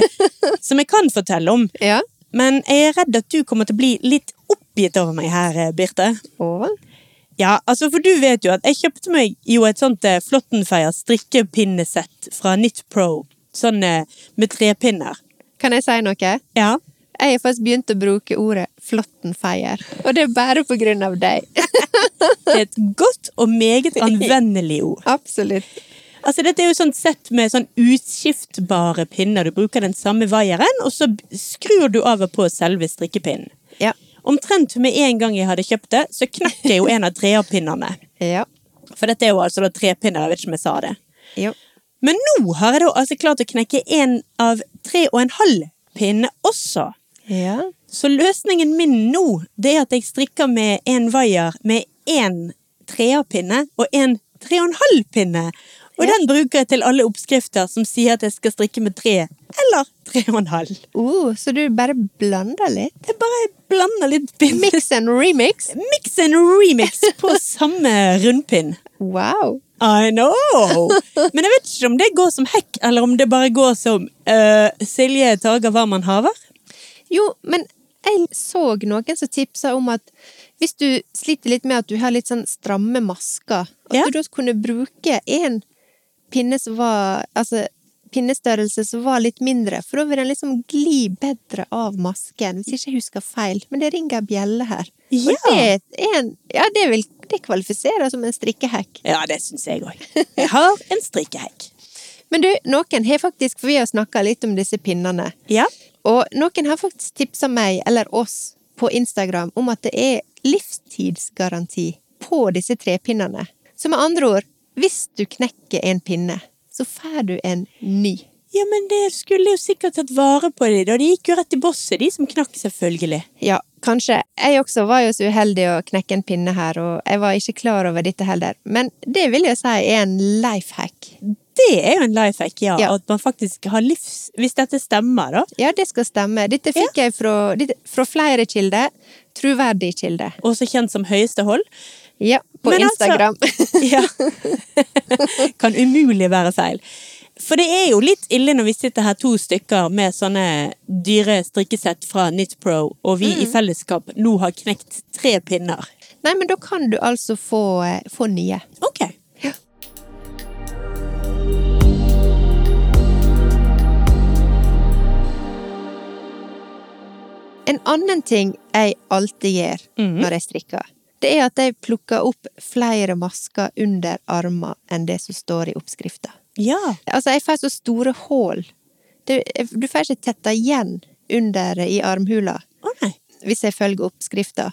Speaker 1: som jeg kan fortelle om.
Speaker 2: Ja.
Speaker 1: Men jeg er redd at du kommer til å bli litt oppgitt over meg her, eh, Birte.
Speaker 2: Og
Speaker 1: Ja, altså for du vet jo at jeg kjøpte meg jo et sånt eh, Flottenfeier strikkepinnesett fra Knit Pro. Sånn eh, med trepinner.
Speaker 2: Kan jeg si noe?
Speaker 1: Ja.
Speaker 2: Jeg har faktisk begynt å bruke ordet flåttenfeier, og det er bare på grunn av deg.
Speaker 1: Det er et godt og meget anvendelig ord.
Speaker 2: Absolutt.
Speaker 1: Altså Dette er jo sånt sett med sånn utskiftbare pinner. Du bruker den samme vaieren, og så b- skrur du av og på selve strikkepinnen.
Speaker 2: Ja.
Speaker 1: Omtrent med en gang jeg hadde kjøpt det, så knakk jeg jo en av treerpinnene.
Speaker 2: Ja.
Speaker 1: For dette er jo altså da trepinner, jeg vet ikke om jeg sa det.
Speaker 2: Jo.
Speaker 1: Men nå har jeg da altså klart å knekke en av tre og en halv pinne også.
Speaker 2: Ja.
Speaker 1: Så løsningen min nå, det er at jeg strikker med en vaier med én treerpinne og en tre og en halv pinne. Og
Speaker 2: Ja.
Speaker 1: den bruker jeg til alle oppskrifter som sier at jeg skal strikke med tre eller tre og en halv.
Speaker 2: Uh, så du bare blander litt?
Speaker 1: Jeg bare blander litt pinner.
Speaker 2: Mix and remix?
Speaker 1: Mix and remix på samme rundpinn.
Speaker 2: Wow.
Speaker 1: I know! Men jeg vet ikke om det går som hekk, eller om det bare går som eh, Silje Tager hva man haver.
Speaker 2: Jo, men jeg så noen som tipsa om at hvis du sliter litt med at du har litt sånn stramme masker, at
Speaker 1: Ja.
Speaker 2: du da kunne bruke en pinne som var Altså pinnestørrelse som var litt mindre, for da vil den liksom gli bedre av masken, hvis ikke jeg husker feil. Men det ringer ei bjelle her.
Speaker 1: Ja.
Speaker 2: Og det er en Ja, det vil det kvalifiserer som en strikkehekk.
Speaker 1: Ja, det syns jeg òg. Jeg har en strikkehekk.
Speaker 2: Men du, noen har faktisk, for vi har snakka litt om disse pinnene,
Speaker 1: Ja.
Speaker 2: Og noen har faktisk tipsa meg, eller oss, på Instagram om at det er livstidsgaranti på disse trepinnene. Så med andre ord, hvis du knekker en pinne, så får du en ny.
Speaker 1: Ja, men det skulle jo sikkert tatt vare på de, da. De gikk jo rett i bosset, de som knakk, selvfølgelig.
Speaker 2: Ja, kanskje. Jeg også var jo så uheldig å knekke en pinne her, og jeg var ikke klar over dette heller. Men det vil jeg si er en life hack.
Speaker 1: Det er jo en life hack, ja.
Speaker 2: Ja.
Speaker 1: At man faktisk har livs... Hvis dette stemmer, da.
Speaker 2: Ja, det skal stemme. Dette fikk jeg fra, dette, fra flere kilder. Troverdig kilde.
Speaker 1: Også kjent som høyeste hold.
Speaker 2: Ja, på
Speaker 1: Men altså-
Speaker 2: Instagram.
Speaker 1: Ja. kan umulig være feil. For det er jo litt ille når vi sitter her to stykker med sånne dyre strikkesett fra Knitpro, og vi i fellesskap nå har knekt tre pinner.
Speaker 2: Nei, men da kan du altså få, eh, få nye.
Speaker 1: Ok.
Speaker 2: Ja. En annen ting jeg alltid gjør når jeg strikker, det er at jeg plukker opp flere masker under armer enn det som står i oppskrifta.
Speaker 1: Ja.
Speaker 2: Altså, jeg får så store hull. Du, du får ikke tetta igjen under i armhula
Speaker 1: Å nei.
Speaker 2: hvis jeg følger oppskrifta.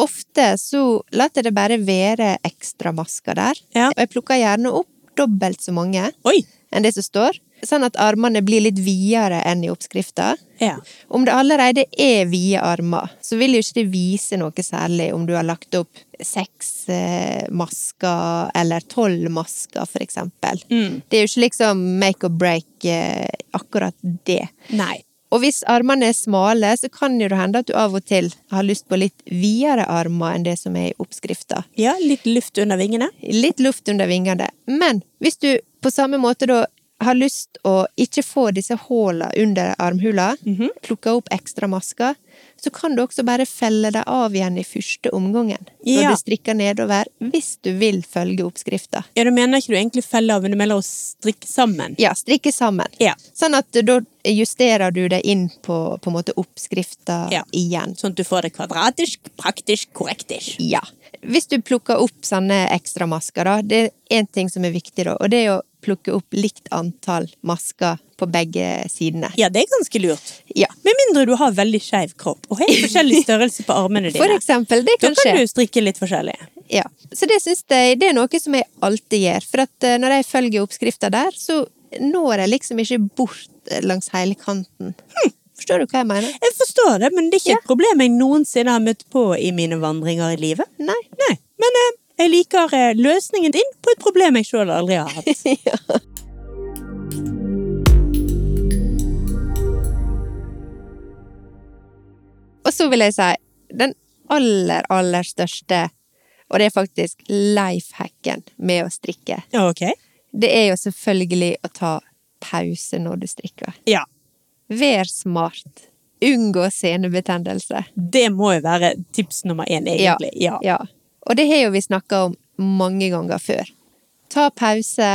Speaker 2: Ofte så lar jeg det bare være ekstra masker der.
Speaker 1: Ja.
Speaker 2: Og jeg plukker gjerne opp dobbelt så mange
Speaker 1: Oi.
Speaker 2: enn det som står, sånn at armene blir litt videre enn i oppskrifta.
Speaker 1: Ja.
Speaker 2: Om det allerede er vide armer, så vil jo ikke det vise noe særlig om du har lagt opp seks eh, masker eller tolv masker, for eksempel. Det er jo ikke liksom make or break eh, akkurat det.
Speaker 1: Nei.
Speaker 2: Og hvis armene er smale, så kan jo det hende at du av og til har lyst på litt videre armer enn det som er i oppskrifta.
Speaker 1: Ja, litt luft under vingene.
Speaker 2: Litt luft under vingene. Men hvis du på samme måte da har lyst å ikke få disse håla under armhula,
Speaker 1: Mhm.
Speaker 2: plukke opp ekstra masker, så kan du også bare felle dem av igjen i første omgangen når
Speaker 1: Ja.
Speaker 2: du strikker nedover, hvis du vil følge oppskrifta.
Speaker 1: Ja, du mener ikke du egentlig feller av, men du melder å strikke sammen.
Speaker 2: Ja, strikke sammen.
Speaker 1: Ja.
Speaker 2: Sånn at da justerer du det inn på, på en måte oppskrifta
Speaker 1: Ja.
Speaker 2: igjen.
Speaker 1: Sånn at du får det kvadratisk, praktisk, korrektisk.
Speaker 2: Ja. Hvis du plukker opp sånne ekstra masker, da, det er én ting som er viktig, da, og det er å plukke opp likt antall masker på begge sidene.
Speaker 1: Ja, det er ganske lurt.
Speaker 2: Ja.
Speaker 1: Med mindre du har veldig skeiv kropp og helt forskjellig størrelse på armene dine.
Speaker 2: For eksempel, det
Speaker 1: Da
Speaker 2: kan
Speaker 1: kan
Speaker 2: skje.
Speaker 1: du strikke litt forskjellig.
Speaker 2: Ja. Så det syns jeg det er noe som jeg alltid gjør, for at eh, når jeg følger oppskrifta der, så når jeg liksom ikke bort eh, langs hele kanten. Hm, Forstår du hva jeg mener?
Speaker 1: Jeg forstår det, men det er ikke et problem jeg noensinne har møtt på i mine vandringer i livet.
Speaker 2: Nei.
Speaker 1: Nei, men eh, jeg liker eh, løsningen din på et problem jeg sjøl aldri har hatt.
Speaker 2: Og så vil jeg si den aller, aller største, og det er faktisk lifehacken med å strikke,
Speaker 1: Ok?
Speaker 2: det er jo selvfølgelig å ta pause når du strikker.
Speaker 1: Ja.
Speaker 2: Vær smart. Unngå senebetennelse.
Speaker 1: Det må jo være tips nummer én, egentlig. Ja.
Speaker 2: Ja. Og det har jo vi snakka om mange ganger før. Ta pause,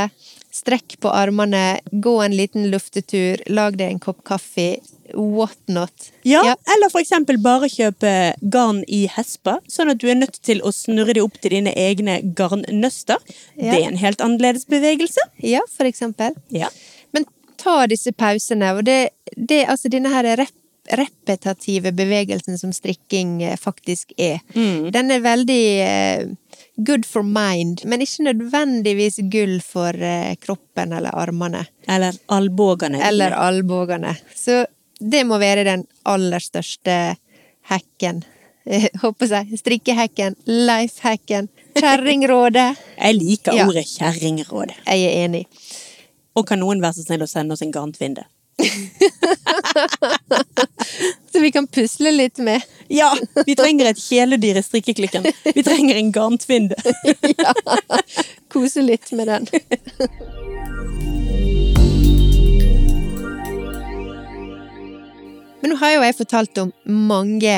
Speaker 2: strekk på armene, gå en liten luftetur, lag deg en kopp kaffe, what not.
Speaker 1: Ja, eller for eksempel bare kjøpe garn i hespa, sånn at du er nødt til å snurre det opp til dine egne garnnøster.
Speaker 2: Ja.
Speaker 1: Det er en helt annerledes bevegelse.
Speaker 2: ja, for eksempel.
Speaker 1: Ja.
Speaker 2: Men ta disse pausene, og det, det altså denne her rep, repetative bevegelsen som strikking eh, faktisk er.
Speaker 1: Mm.
Speaker 2: Den er veldig eh, good for mind, men ikke nødvendigvis gull for eh, kroppen eller armene.
Speaker 1: Eller albågene.
Speaker 2: Eller albuene. Så det må være den aller største hacken. Eh, Håper jeg. Strikkehacken, lifehacken, kjerringrådet.
Speaker 1: Jeg liker
Speaker 2: Ja.
Speaker 1: ordet kjerringråd.
Speaker 2: Jeg er enig.
Speaker 1: Og kan noen være så snill å sende oss en garntvinde?
Speaker 2: Så vi kan pusle litt med.
Speaker 1: Ja! Vi trenger et kjæledyr i strikkeklikken. Vi trenger en garntvinde.
Speaker 2: Ja. Kose litt med den. Men nå har jo jeg fortalt om mange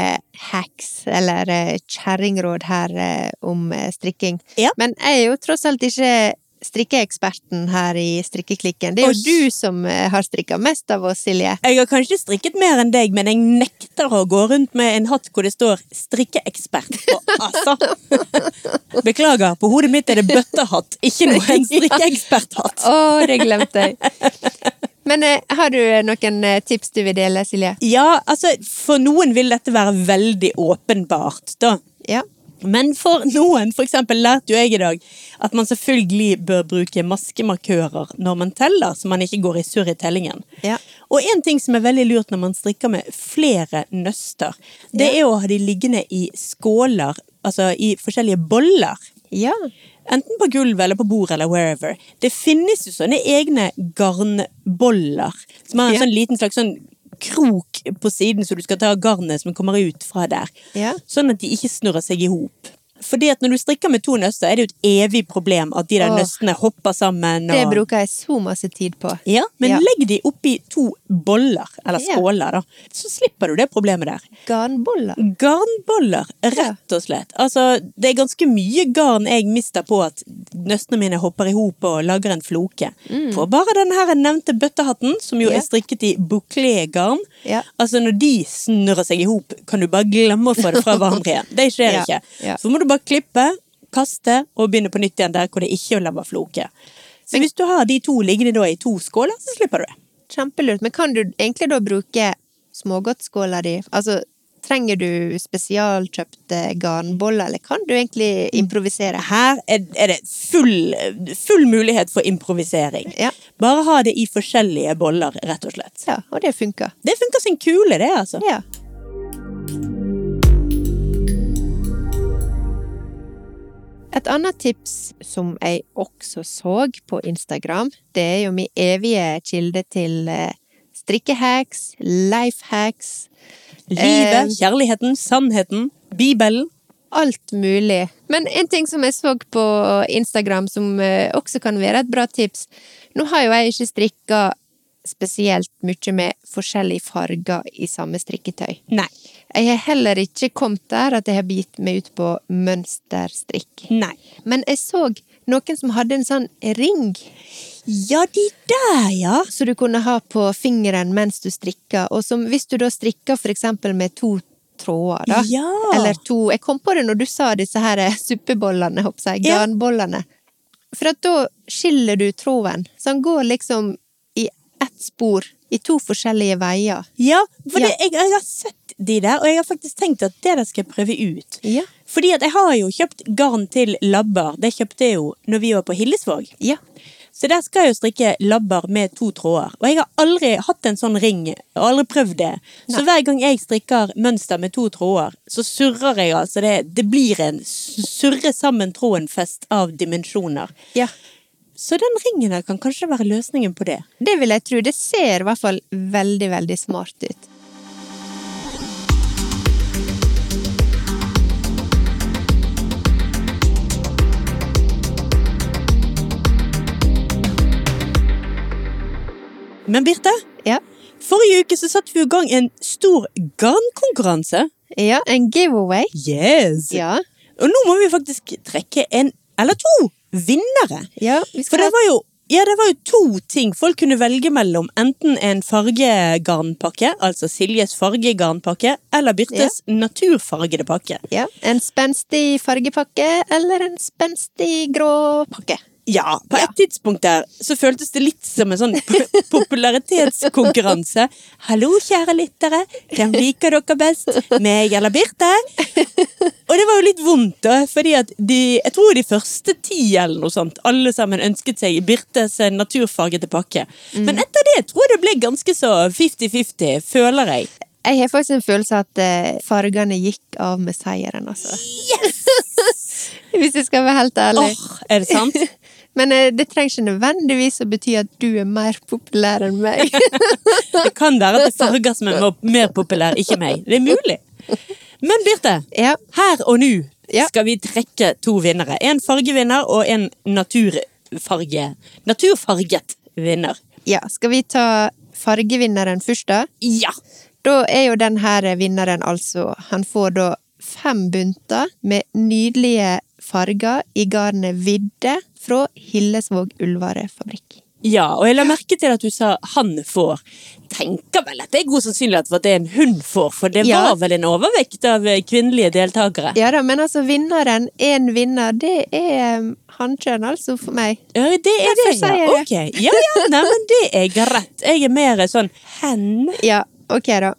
Speaker 2: hacks, eller eh, kjerringråd her, eh, om eh, strikking.
Speaker 1: Ja.
Speaker 2: Men jeg er jo tross alt ikke strikkeeksperten her i Strikkeklikken. Det er jo
Speaker 1: Oss.
Speaker 2: du som eh, har strikka mest av oss, Silje.
Speaker 1: Jeg har kanskje strikket mer enn deg, men jeg nekter å gå rundt med en hatt hvor det står 'strikkeekspert' på. Altså! Beklager, på hodet mitt er det bøttehatt, ikke noe en strikkeeksperthatt.
Speaker 2: Å, det glemte jeg! Men eh, har du eh, noen eh, tips du vil dele, Silje?
Speaker 1: Ja, altså, for noen vil dette være veldig åpenbart, da.
Speaker 2: Ja.
Speaker 1: Men for noen, for eksempel lærte jo jeg i dag at man selvfølgelig bør bruke maskemarkører når man teller, så man ikke går i surr i tellingen.
Speaker 2: Ja.
Speaker 1: Og en ting som er veldig lurt når man strikker med flere nøster, det er å ha de liggende i skåler, altså i forskjellige boller.
Speaker 2: ja.
Speaker 1: Enten på gulvet eller på bordet eller wherever. Det finnes jo sånne egne garnboller som har en
Speaker 2: Ja.
Speaker 1: sånn liten slags sånn krok på siden, så du skal ta garnet som kommer ut fra der.
Speaker 2: Ja.
Speaker 1: Sånn at de ikke snurrer seg i hop. Fordi at når du strikker med to nøster, er det jo et evig problem at de der
Speaker 2: Åh.
Speaker 1: nøstene hopper sammen. Og...
Speaker 2: Det bruker jeg så masse tid på.
Speaker 1: Ja, men
Speaker 2: Ja.
Speaker 1: legg de oppi to boller, eller
Speaker 2: Ja.
Speaker 1: skåler, da. Så slipper du det problemet der.
Speaker 2: Garnboller.
Speaker 1: Garnboller, rett og slett. Altså, det er ganske mye garn jeg mister på at nøstene mine hopper i hop og lager en floke. På bare den her nevnte bøttehatten, som jo
Speaker 2: Mm. Ja.
Speaker 1: er strikket i bouclé-garn.
Speaker 2: Ja.
Speaker 1: Altså, når de snurrer seg i hop, kan du bare glemme å få det fra hverandre igjen. Det skjer
Speaker 2: Ja,
Speaker 1: ikke.
Speaker 2: ja.
Speaker 1: Så må du bare klippe, kaste og begynne på nytt igjen der hvor det ikke er labba floke. Så hvis du har de to liggende da i to skåler, så slipper du det.
Speaker 2: Kjempelurt. Men kan du egentlig da bruke smågodtskåla di? Altså, trenger du spesialkjøpte garnboller, eller kan du egentlig improvisere?
Speaker 1: Her er, er det full, full mulighet for improvisering.
Speaker 2: Ja.
Speaker 1: Bare ha det i forskjellige boller, rett og slett.
Speaker 2: Ja, og det funker.
Speaker 1: Det funker som kule, det, altså.
Speaker 2: Ja. Et annet tips som jeg også så på Instagram, det er jo min evige kilde til eh, strikkehacks, lifehacks, Eh.
Speaker 1: Livet, kjærligheten, sannheten, Bibelen.
Speaker 2: alt mulig. Men en ting som jeg så på Instagram som eh, også kan være et bra tips Nå har jo jeg ikke strikka spesielt mye med forskjellige farger i samme strikketøy.
Speaker 1: Nei.
Speaker 2: Jeg har heller ikke kommet der at jeg har bitt meg ut på mønsterstrikk.
Speaker 1: Nei.
Speaker 2: Men jeg så noen som hadde en sånn ring
Speaker 1: Ja, de der, ja.
Speaker 2: som du kunne ha på fingeren mens du strikka, og som hvis du da strikka for eksempel med to tråder, da,
Speaker 1: Ja.
Speaker 2: eller to Jeg kom på det når du sa disse her eh, suppebollene, hopp seg,
Speaker 1: Ja.
Speaker 2: garnbollene. For at da skiller du tråden, så den går liksom i ett spor, i to forskjellige veier.
Speaker 1: Ja, for
Speaker 2: Ja.
Speaker 1: det- Jeg, jeg har sett de der, og jeg har faktisk tenkt at det der skal jeg prøve ut.
Speaker 2: Ja.
Speaker 1: Fordi at jeg har jo kjøpt garn til labber. Det kjøpte jeg jo når vi var på Hillesvåg.
Speaker 2: Ja.
Speaker 1: Så der skal jeg jo strikke labber med to tråder. Og jeg har aldri hatt en sånn ring, og aldri prøvd det. Så hver gang jeg strikker mønster med to tråder, så surrer jeg altså det. Det blir en surre sammen tråden-fest av dimensjoner.
Speaker 2: ja.
Speaker 1: Så den ringen her kan kanskje være løsningen på det.
Speaker 2: Det vil jeg tro. Det ser i hvert fall veldig, veldig smart ut.
Speaker 1: Men Birte,
Speaker 2: Ja.
Speaker 1: forrige uke så satte vi i gang en stor garnkonkurranse.
Speaker 2: Ja, en giveaway.
Speaker 1: Yes!
Speaker 2: Ja.
Speaker 1: Og nå må vi faktisk trekke en eller to vinnere.
Speaker 2: ja vi
Speaker 1: For
Speaker 2: skal
Speaker 1: det
Speaker 2: ha
Speaker 1: var jo ja, det var jo to ting folk kunne velge mellom. Enten en fargegarnpakke, altså Siljes fargegarnpakke, eller Birtes naturfargede pakke.
Speaker 2: ja, en spenstig fargepakke eller en spenstig grå pakke.
Speaker 1: Ja, på et tidspunkt der så føltes det litt som en sånn p- popularitetskonkurranse. Hallo, kjære lyttere. Hvem liker dere best? Meg eller Birte? Og det var jo litt vondt, da, fordi at de Jeg tror de første ti eller noe sånt, alle sammen ønsket seg Birtes naturfargete pakke. Men etter det tror jeg det ble ganske så 50-50, føler jeg.
Speaker 2: Jeg har faktisk en følelse av at eh, fargene gikk av med seieren, altså. Hvis jeg skal være helt
Speaker 1: Åh,
Speaker 2: ærlig.
Speaker 1: er det sant?
Speaker 2: Men eh, det trenger ikke nødvendigvis å bety at du er mer populær enn meg.
Speaker 1: Det kan være at det er farger som er mer- mer populære, ikke meg. Det er mulig. Men Birte,
Speaker 2: ja.
Speaker 1: her og nå
Speaker 2: Ja.
Speaker 1: skal vi trekke to vinnere. En fargevinner og en naturfarge. naturfarget vinner.
Speaker 2: ja. Skal vi ta fargevinneren først, da?
Speaker 1: Ja!
Speaker 2: Da er jo den her vinneren, altså. Han får da fem bunter med nydelige farger i garnet Vidde fra Hillesvåg Ulvarefabrikk.
Speaker 1: Ja, og jeg la merke til at du sa 'han får'. Tenker vel at det er god sannsynlighet for at det er en hun får, for det
Speaker 2: Ja.
Speaker 1: var vel en overvekt av eh, kvinnelige deltakere?
Speaker 2: Ja da, men altså vinneren, én vinner, det er um, hankjønn altså for meg.
Speaker 1: Ja, det er
Speaker 2: Derfor
Speaker 1: det, ja.
Speaker 2: sier jeg det.
Speaker 1: Ok. Ja, ja, nei, men det er greit. Jeg er mer sånn 'hen'.
Speaker 2: Ja, ok da.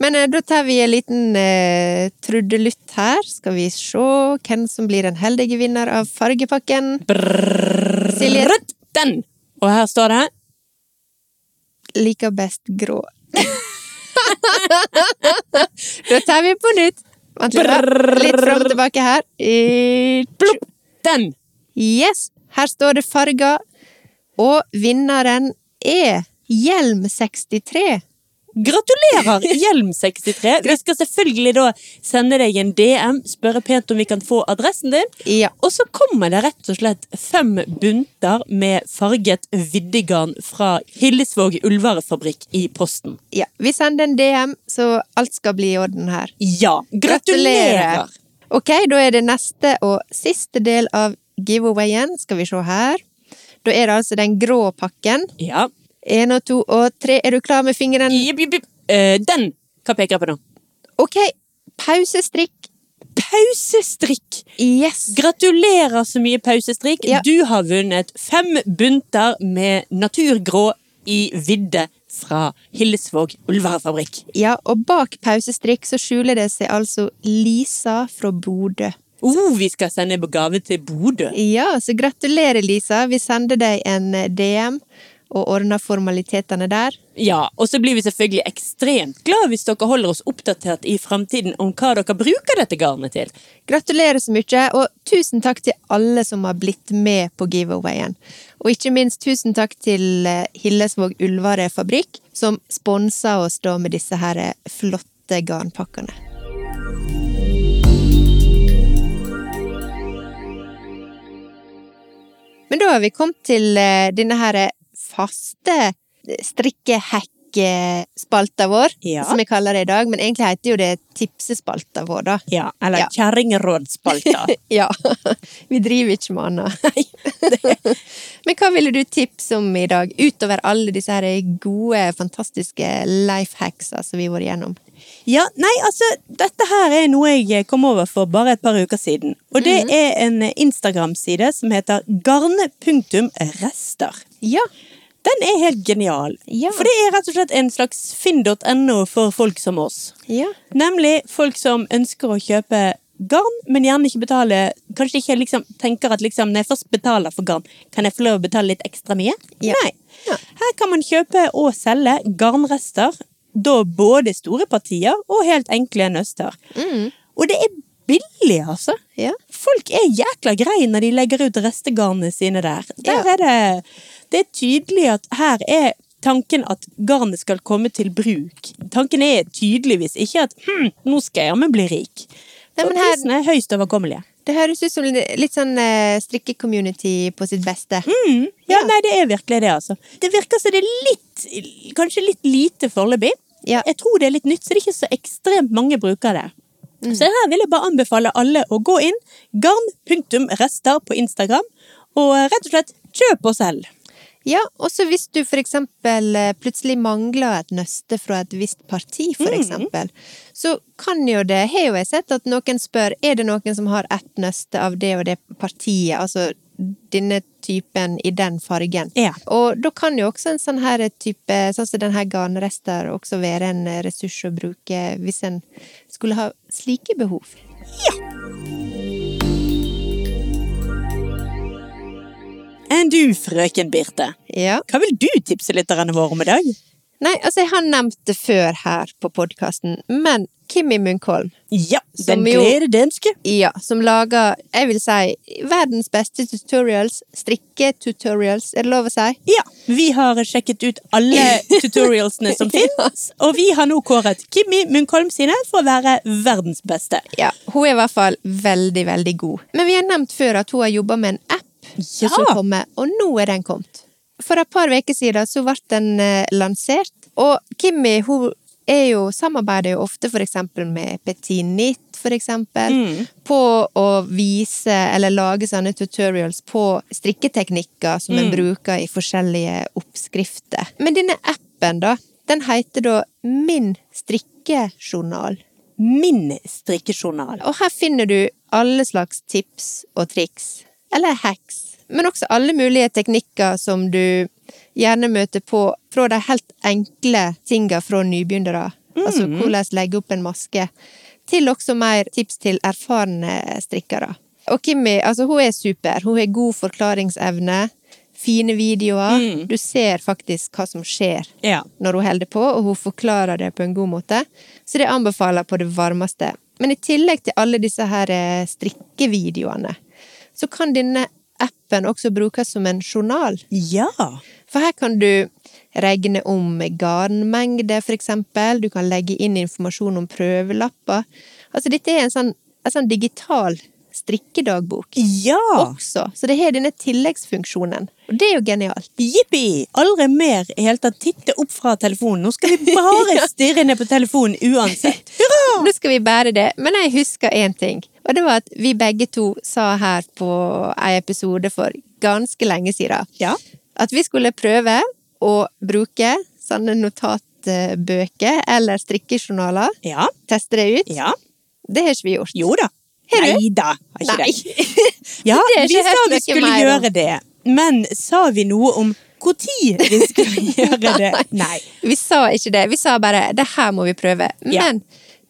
Speaker 2: Men eh, da tar vi en liten eh, trudelutt her. Skal vi se hvem som blir den heldige vinner av fargepakken. Silje
Speaker 1: Den! Og her står det
Speaker 2: liker best grå. da tar vi på nytt. Vent litt, da. litt fram og tilbake her. Eh,
Speaker 1: Plopp! Den!
Speaker 2: Yes, her står det farger. Og vinneren er Hjelm63.
Speaker 1: Gratulerer, Hjelm63! Vi skal selvfølgelig da sende deg en DM, spørre pent om vi kan få adressen din.
Speaker 2: Ja.
Speaker 1: Og så kommer det rett og slett fem bunter med farget viddegarn fra Hillesvåg ulvarefabrikk i posten.
Speaker 2: ja. Vi sender en DM, så alt skal bli i orden her.
Speaker 1: Ja! Gratulerer!
Speaker 2: Ok, da er det neste og siste del av giveawayen. Skal vi se her. Da er det altså den grå pakken.
Speaker 1: Ja.
Speaker 2: Én og to og tre. Er du klar med fingeren?
Speaker 1: Jip, jip, jip. Eh, Den! Hva peker jeg på nå?
Speaker 2: Ok, pausestrikk.
Speaker 1: Pausestrikk!
Speaker 2: Yes.
Speaker 1: Gratulerer så mye, pausestrikk.
Speaker 2: Ja.
Speaker 1: Du har vunnet fem bunter med naturgrå i vidde fra Hillesvåg Ulvarefabrikk.
Speaker 2: Ja, og bak pausestrikk så skjuler det seg altså Lisa fra Bodø.
Speaker 1: Oh, vi skal sende gave til Bodø.
Speaker 2: Ja, så gratulerer, Lisa. Vi sender deg en DM og ordner formalitetene der.
Speaker 1: Ja, Og så blir vi selvfølgelig ekstremt glad hvis dere holder oss oppdatert i fremtiden om hva dere bruker dette garnet til.
Speaker 2: Gratulerer så mye, og tusen takk til alle som har blitt med på giveawayen. Og ikke minst tusen takk til eh, Hillesvåg Ulvare Fabrikk, som sponsa oss da med disse her eh, flotte garnpakkene. Men da har vi kommet til eh, denne her eh, faste eh, strikkehekk-spalta vår,
Speaker 1: Ja.
Speaker 2: som jeg kaller det i dag. Men egentlig heter jo det tipsespalta vår, da.
Speaker 1: Ja, Eller
Speaker 2: Ja.
Speaker 1: kjerringrådspalta.
Speaker 2: Ja. Vi driver ikke med annet. Men hva ville du tipse om i dag, utover alle disse her gode, fantastiske life hacks som vi har vært gjennom?
Speaker 1: Ja, nei, altså, dette her er noe jeg kom over for bare et par uker siden. Og det er en Instagram-side som heter garn.rester.
Speaker 2: Ja.
Speaker 1: Den er helt genial.
Speaker 2: Ja.
Speaker 1: For det er rett og slett en slags finn.no for folk som oss.
Speaker 2: Ja.
Speaker 1: Nemlig folk som ønsker å kjøpe garn, men gjerne ikke betale Kanskje ikke liksom tenker at liksom, når jeg først betaler for garn, kan jeg få lov å betale litt ekstra mye?
Speaker 2: Ja.
Speaker 1: Nei.
Speaker 2: Ja.
Speaker 1: Her kan man kjøpe og selge garnrester, da både store partier og helt enkle nøster.
Speaker 2: Mm.
Speaker 1: Og det er billig, altså.
Speaker 2: Ja.
Speaker 1: Folk er jækla greie når de legger ut restegarnene sine der. Der
Speaker 2: Ja.
Speaker 1: er det Det er tydelig at her er tanken at garnet skal komme til bruk. Tanken er tydeligvis ikke at hm, nå skal jeg jammen bli rik.
Speaker 2: Nei,
Speaker 1: For
Speaker 2: men her-
Speaker 1: prisene er høyst overkommelige.
Speaker 2: Det høres ut som litt sånn eh, strikke-community på sitt beste.
Speaker 1: Ja,
Speaker 2: Ja.
Speaker 1: nei, det er virkelig det, altså. Det virker som det er litt Kanskje litt lite foreløpig.
Speaker 2: Ja.
Speaker 1: Jeg tror det er litt nytt, så det er ikke så ekstremt mange bruker det.
Speaker 2: Mm.
Speaker 1: Så her vil jeg bare anbefale alle å gå inn garn.rester på Instagram, og rett og slett kjøp og selg.
Speaker 2: Ja, også hvis du for eksempel eh, plutselig mangler et nøste fra et visst parti, for eksempel, så kan jo det, har jo jeg sett at noen spør, er det noen som har ett nøste av det og det partiet, altså denne typen i den fargen.
Speaker 1: Ja.
Speaker 2: Og da kan jo også en sånn her type, sånn som den her garnrester, også være en ressurs å bruke hvis en skulle ha slike behov.
Speaker 1: Enn du, frøken Birte?
Speaker 2: Ja.
Speaker 1: Hva vil du tipse lytterne våre om i dag?
Speaker 2: Nei, altså jeg har nevnt det før her på podkasten, men Kimmi Munkholm,
Speaker 1: Ja,
Speaker 2: Som
Speaker 1: den
Speaker 2: jo-
Speaker 1: glede danske.
Speaker 2: ja, som lager, jeg vil si, verdens beste tutorials, strikketutorials, er det lov å si?
Speaker 1: Ja, vi har sjekket ut alle tutorialsene som finnes, og vi har nå kåret Kimmi Munkholm sine for å være verdens beste.
Speaker 2: Ja, hun er i hvert fall veldig, veldig god. Men vi har nevnt før at hun har jobba med en app
Speaker 1: Ja.
Speaker 2: som skal komme, og nå er den kommet. For et par uker siden så ble den eh, lansert, og Kimmi hun er jo, samarbeider jo ofte for eksempel med Petit Nit, for eksempel, på å vise eller lage sånne tutorials på strikketeknikker som en bruker i forskjellige oppskrifter. Men denne appen, da, den heter da Min strikkejournal.
Speaker 1: Min strikkejournal.
Speaker 2: Og her finner du alle slags tips og triks, eller hacks, men også alle mulige teknikker som du gjerne møter på fra de helt enkle tinga fra nybegynnere. Altså hvordan legge opp en maske, til også mer tips til erfarne strikkere. Og Kimmi, altså hun er super. Hun har god forklaringsevne, fine videoer. Du ser faktisk hva som skjer
Speaker 1: Ja.
Speaker 2: når hun holder på, og hun forklarer det på en god måte. Så det anbefaler jeg på det varmeste. Men i tillegg til alle disse her eh, strikkevideoene, så kan denne appen også brukes som en journal.
Speaker 1: Ja.
Speaker 2: For her kan du regne om garnmengde, for eksempel. Du kan legge inn informasjon om prøvelapper. Altså, dette er en sånn, en sånn digital strikkedagbok
Speaker 1: Ja.
Speaker 2: også. Så det har denne tilleggsfunksjonen. Og det er jo genialt.
Speaker 1: Jippi! Aldri mer i hele tatt titte opp fra telefonen. Nå skal vi bare stirre ned på telefonen uansett. Hurra!
Speaker 2: Nå skal vi bære det, men jeg husker én ting. Og det var at vi begge to sa her på en episode for ganske lenge siden
Speaker 1: Ja.
Speaker 2: at vi skulle prøve å bruke sånne notatbøker eller strikkejournaler.
Speaker 1: Ja.
Speaker 2: Teste det ut.
Speaker 1: Ja.
Speaker 2: Det har ikke vi gjort.
Speaker 1: Jo da.
Speaker 2: Har du?
Speaker 1: Nei da. Har ikke det. Ja,
Speaker 2: Det er ikke
Speaker 1: vi sa
Speaker 2: helt
Speaker 1: vi
Speaker 2: noe
Speaker 1: skulle
Speaker 2: mer om.
Speaker 1: gjøre det, men sa vi noe om når vi skulle gjøre det? Nei.
Speaker 2: Vi sa ikke det. Vi sa bare 'det her må vi prøve'.
Speaker 1: Ja.
Speaker 2: Men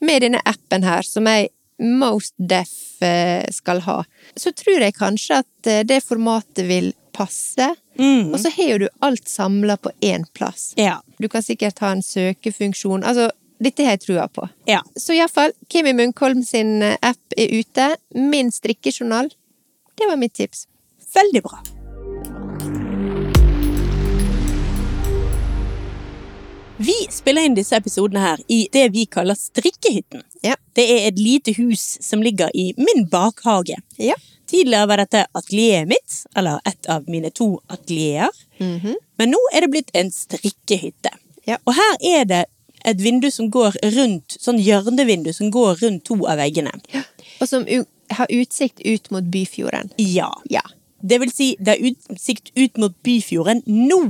Speaker 2: med denne appen her, som jeg most deaf eh, skal ha, så tror jeg kanskje at eh, det formatet vil passe. Og så har jo du alt samla på én plass.
Speaker 1: Ja.
Speaker 2: Du kan sikkert ha en søkefunksjon. Altså, dette har jeg trua på.
Speaker 1: ja.
Speaker 2: Så iallfall, Kimi Munkholm sin eh, app er ute. Min strikkejournal. Det var mitt tips.
Speaker 1: Veldig bra. Vi spiller inn disse episodene her i det vi kaller strikkehytten.
Speaker 2: Ja.
Speaker 1: Det er et lite hus som ligger i min bakhage.
Speaker 2: Ja.
Speaker 1: Tidligere var dette atelieret mitt, eller et av mine to atelierer. Men nå er det blitt en strikkehytte.
Speaker 2: Ja.
Speaker 1: Og her er det et vindu som går rundt, sånn hjørnevindu som går rundt to av veggene.
Speaker 2: Og som u har utsikt ut mot Byfjorden.
Speaker 1: Ja.
Speaker 2: Ja.
Speaker 1: Det vil si, det er utsikt ut mot Byfjorden nå.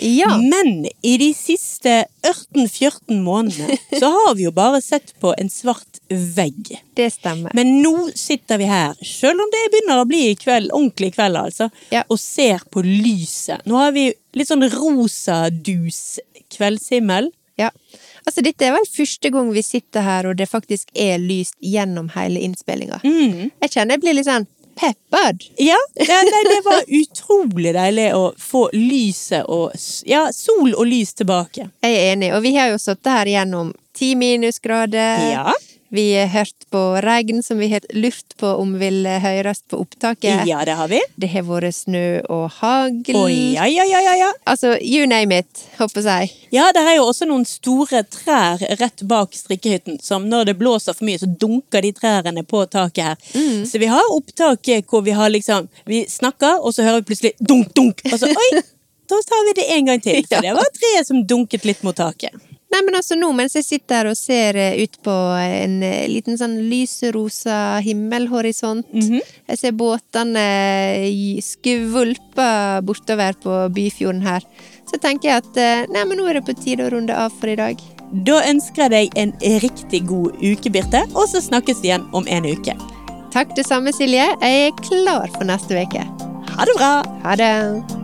Speaker 2: Ja.
Speaker 1: Men i de siste 18-14 månedene så har vi jo bare sett på en svart vegg.
Speaker 2: Det stemmer.
Speaker 1: Men nå sitter vi her, selv om det begynner å bli i kveld, ordentlig kveld, altså,
Speaker 2: Ja.
Speaker 1: og ser på lyset. Nå har vi litt sånn rosa dus kveldshimmel.
Speaker 2: Ja. Altså, dette er vel første gang vi sitter her, og det faktisk er lyst gjennom hele innspillinga.
Speaker 1: Mm.
Speaker 2: Jeg kjenner jeg blir litt sånn peppered.
Speaker 1: Ja, det, nei, det var utrolig deilig å få lyset og s- Ja, sol og lys tilbake.
Speaker 2: Jeg er enig, og vi har jo sittet her gjennom ti minusgrader.
Speaker 1: Ja.
Speaker 2: Vi har hørt på regn som vi har lurt på om vil høres på opptaket.
Speaker 1: Ja, det har vi.
Speaker 2: Det har vært snø og hagl.
Speaker 1: Å, ja, ja, ja, ja, ja.
Speaker 2: Altså, you name it, håper jeg.
Speaker 1: Ja, der er jo også noen store trær rett bak strikkehytten, som når det blåser for mye, så dunker de trærne på taket her. Så vi har opptak hvor vi har liksom Vi snakker, og så hører vi plutselig dunk, dunk, og så oi! Da tar vi det en gang til. For det var treet som dunket litt mot taket.
Speaker 2: Nei, men altså nå mens jeg sitter her og ser eh, ut på en eh, liten sånn lyserosa himmelhorisont Jeg ser båtene eh, i- skvulper bortover på Byfjorden her. Så tenker jeg at eh, nei, men nå er det på tide å runde av for i dag.
Speaker 1: Da ønsker jeg deg en riktig god uke, Birte, og så snakkes vi igjen om en uke.
Speaker 2: Takk det samme, Silje. Jeg er klar for neste uke.
Speaker 1: Ha det bra!
Speaker 2: Ha det!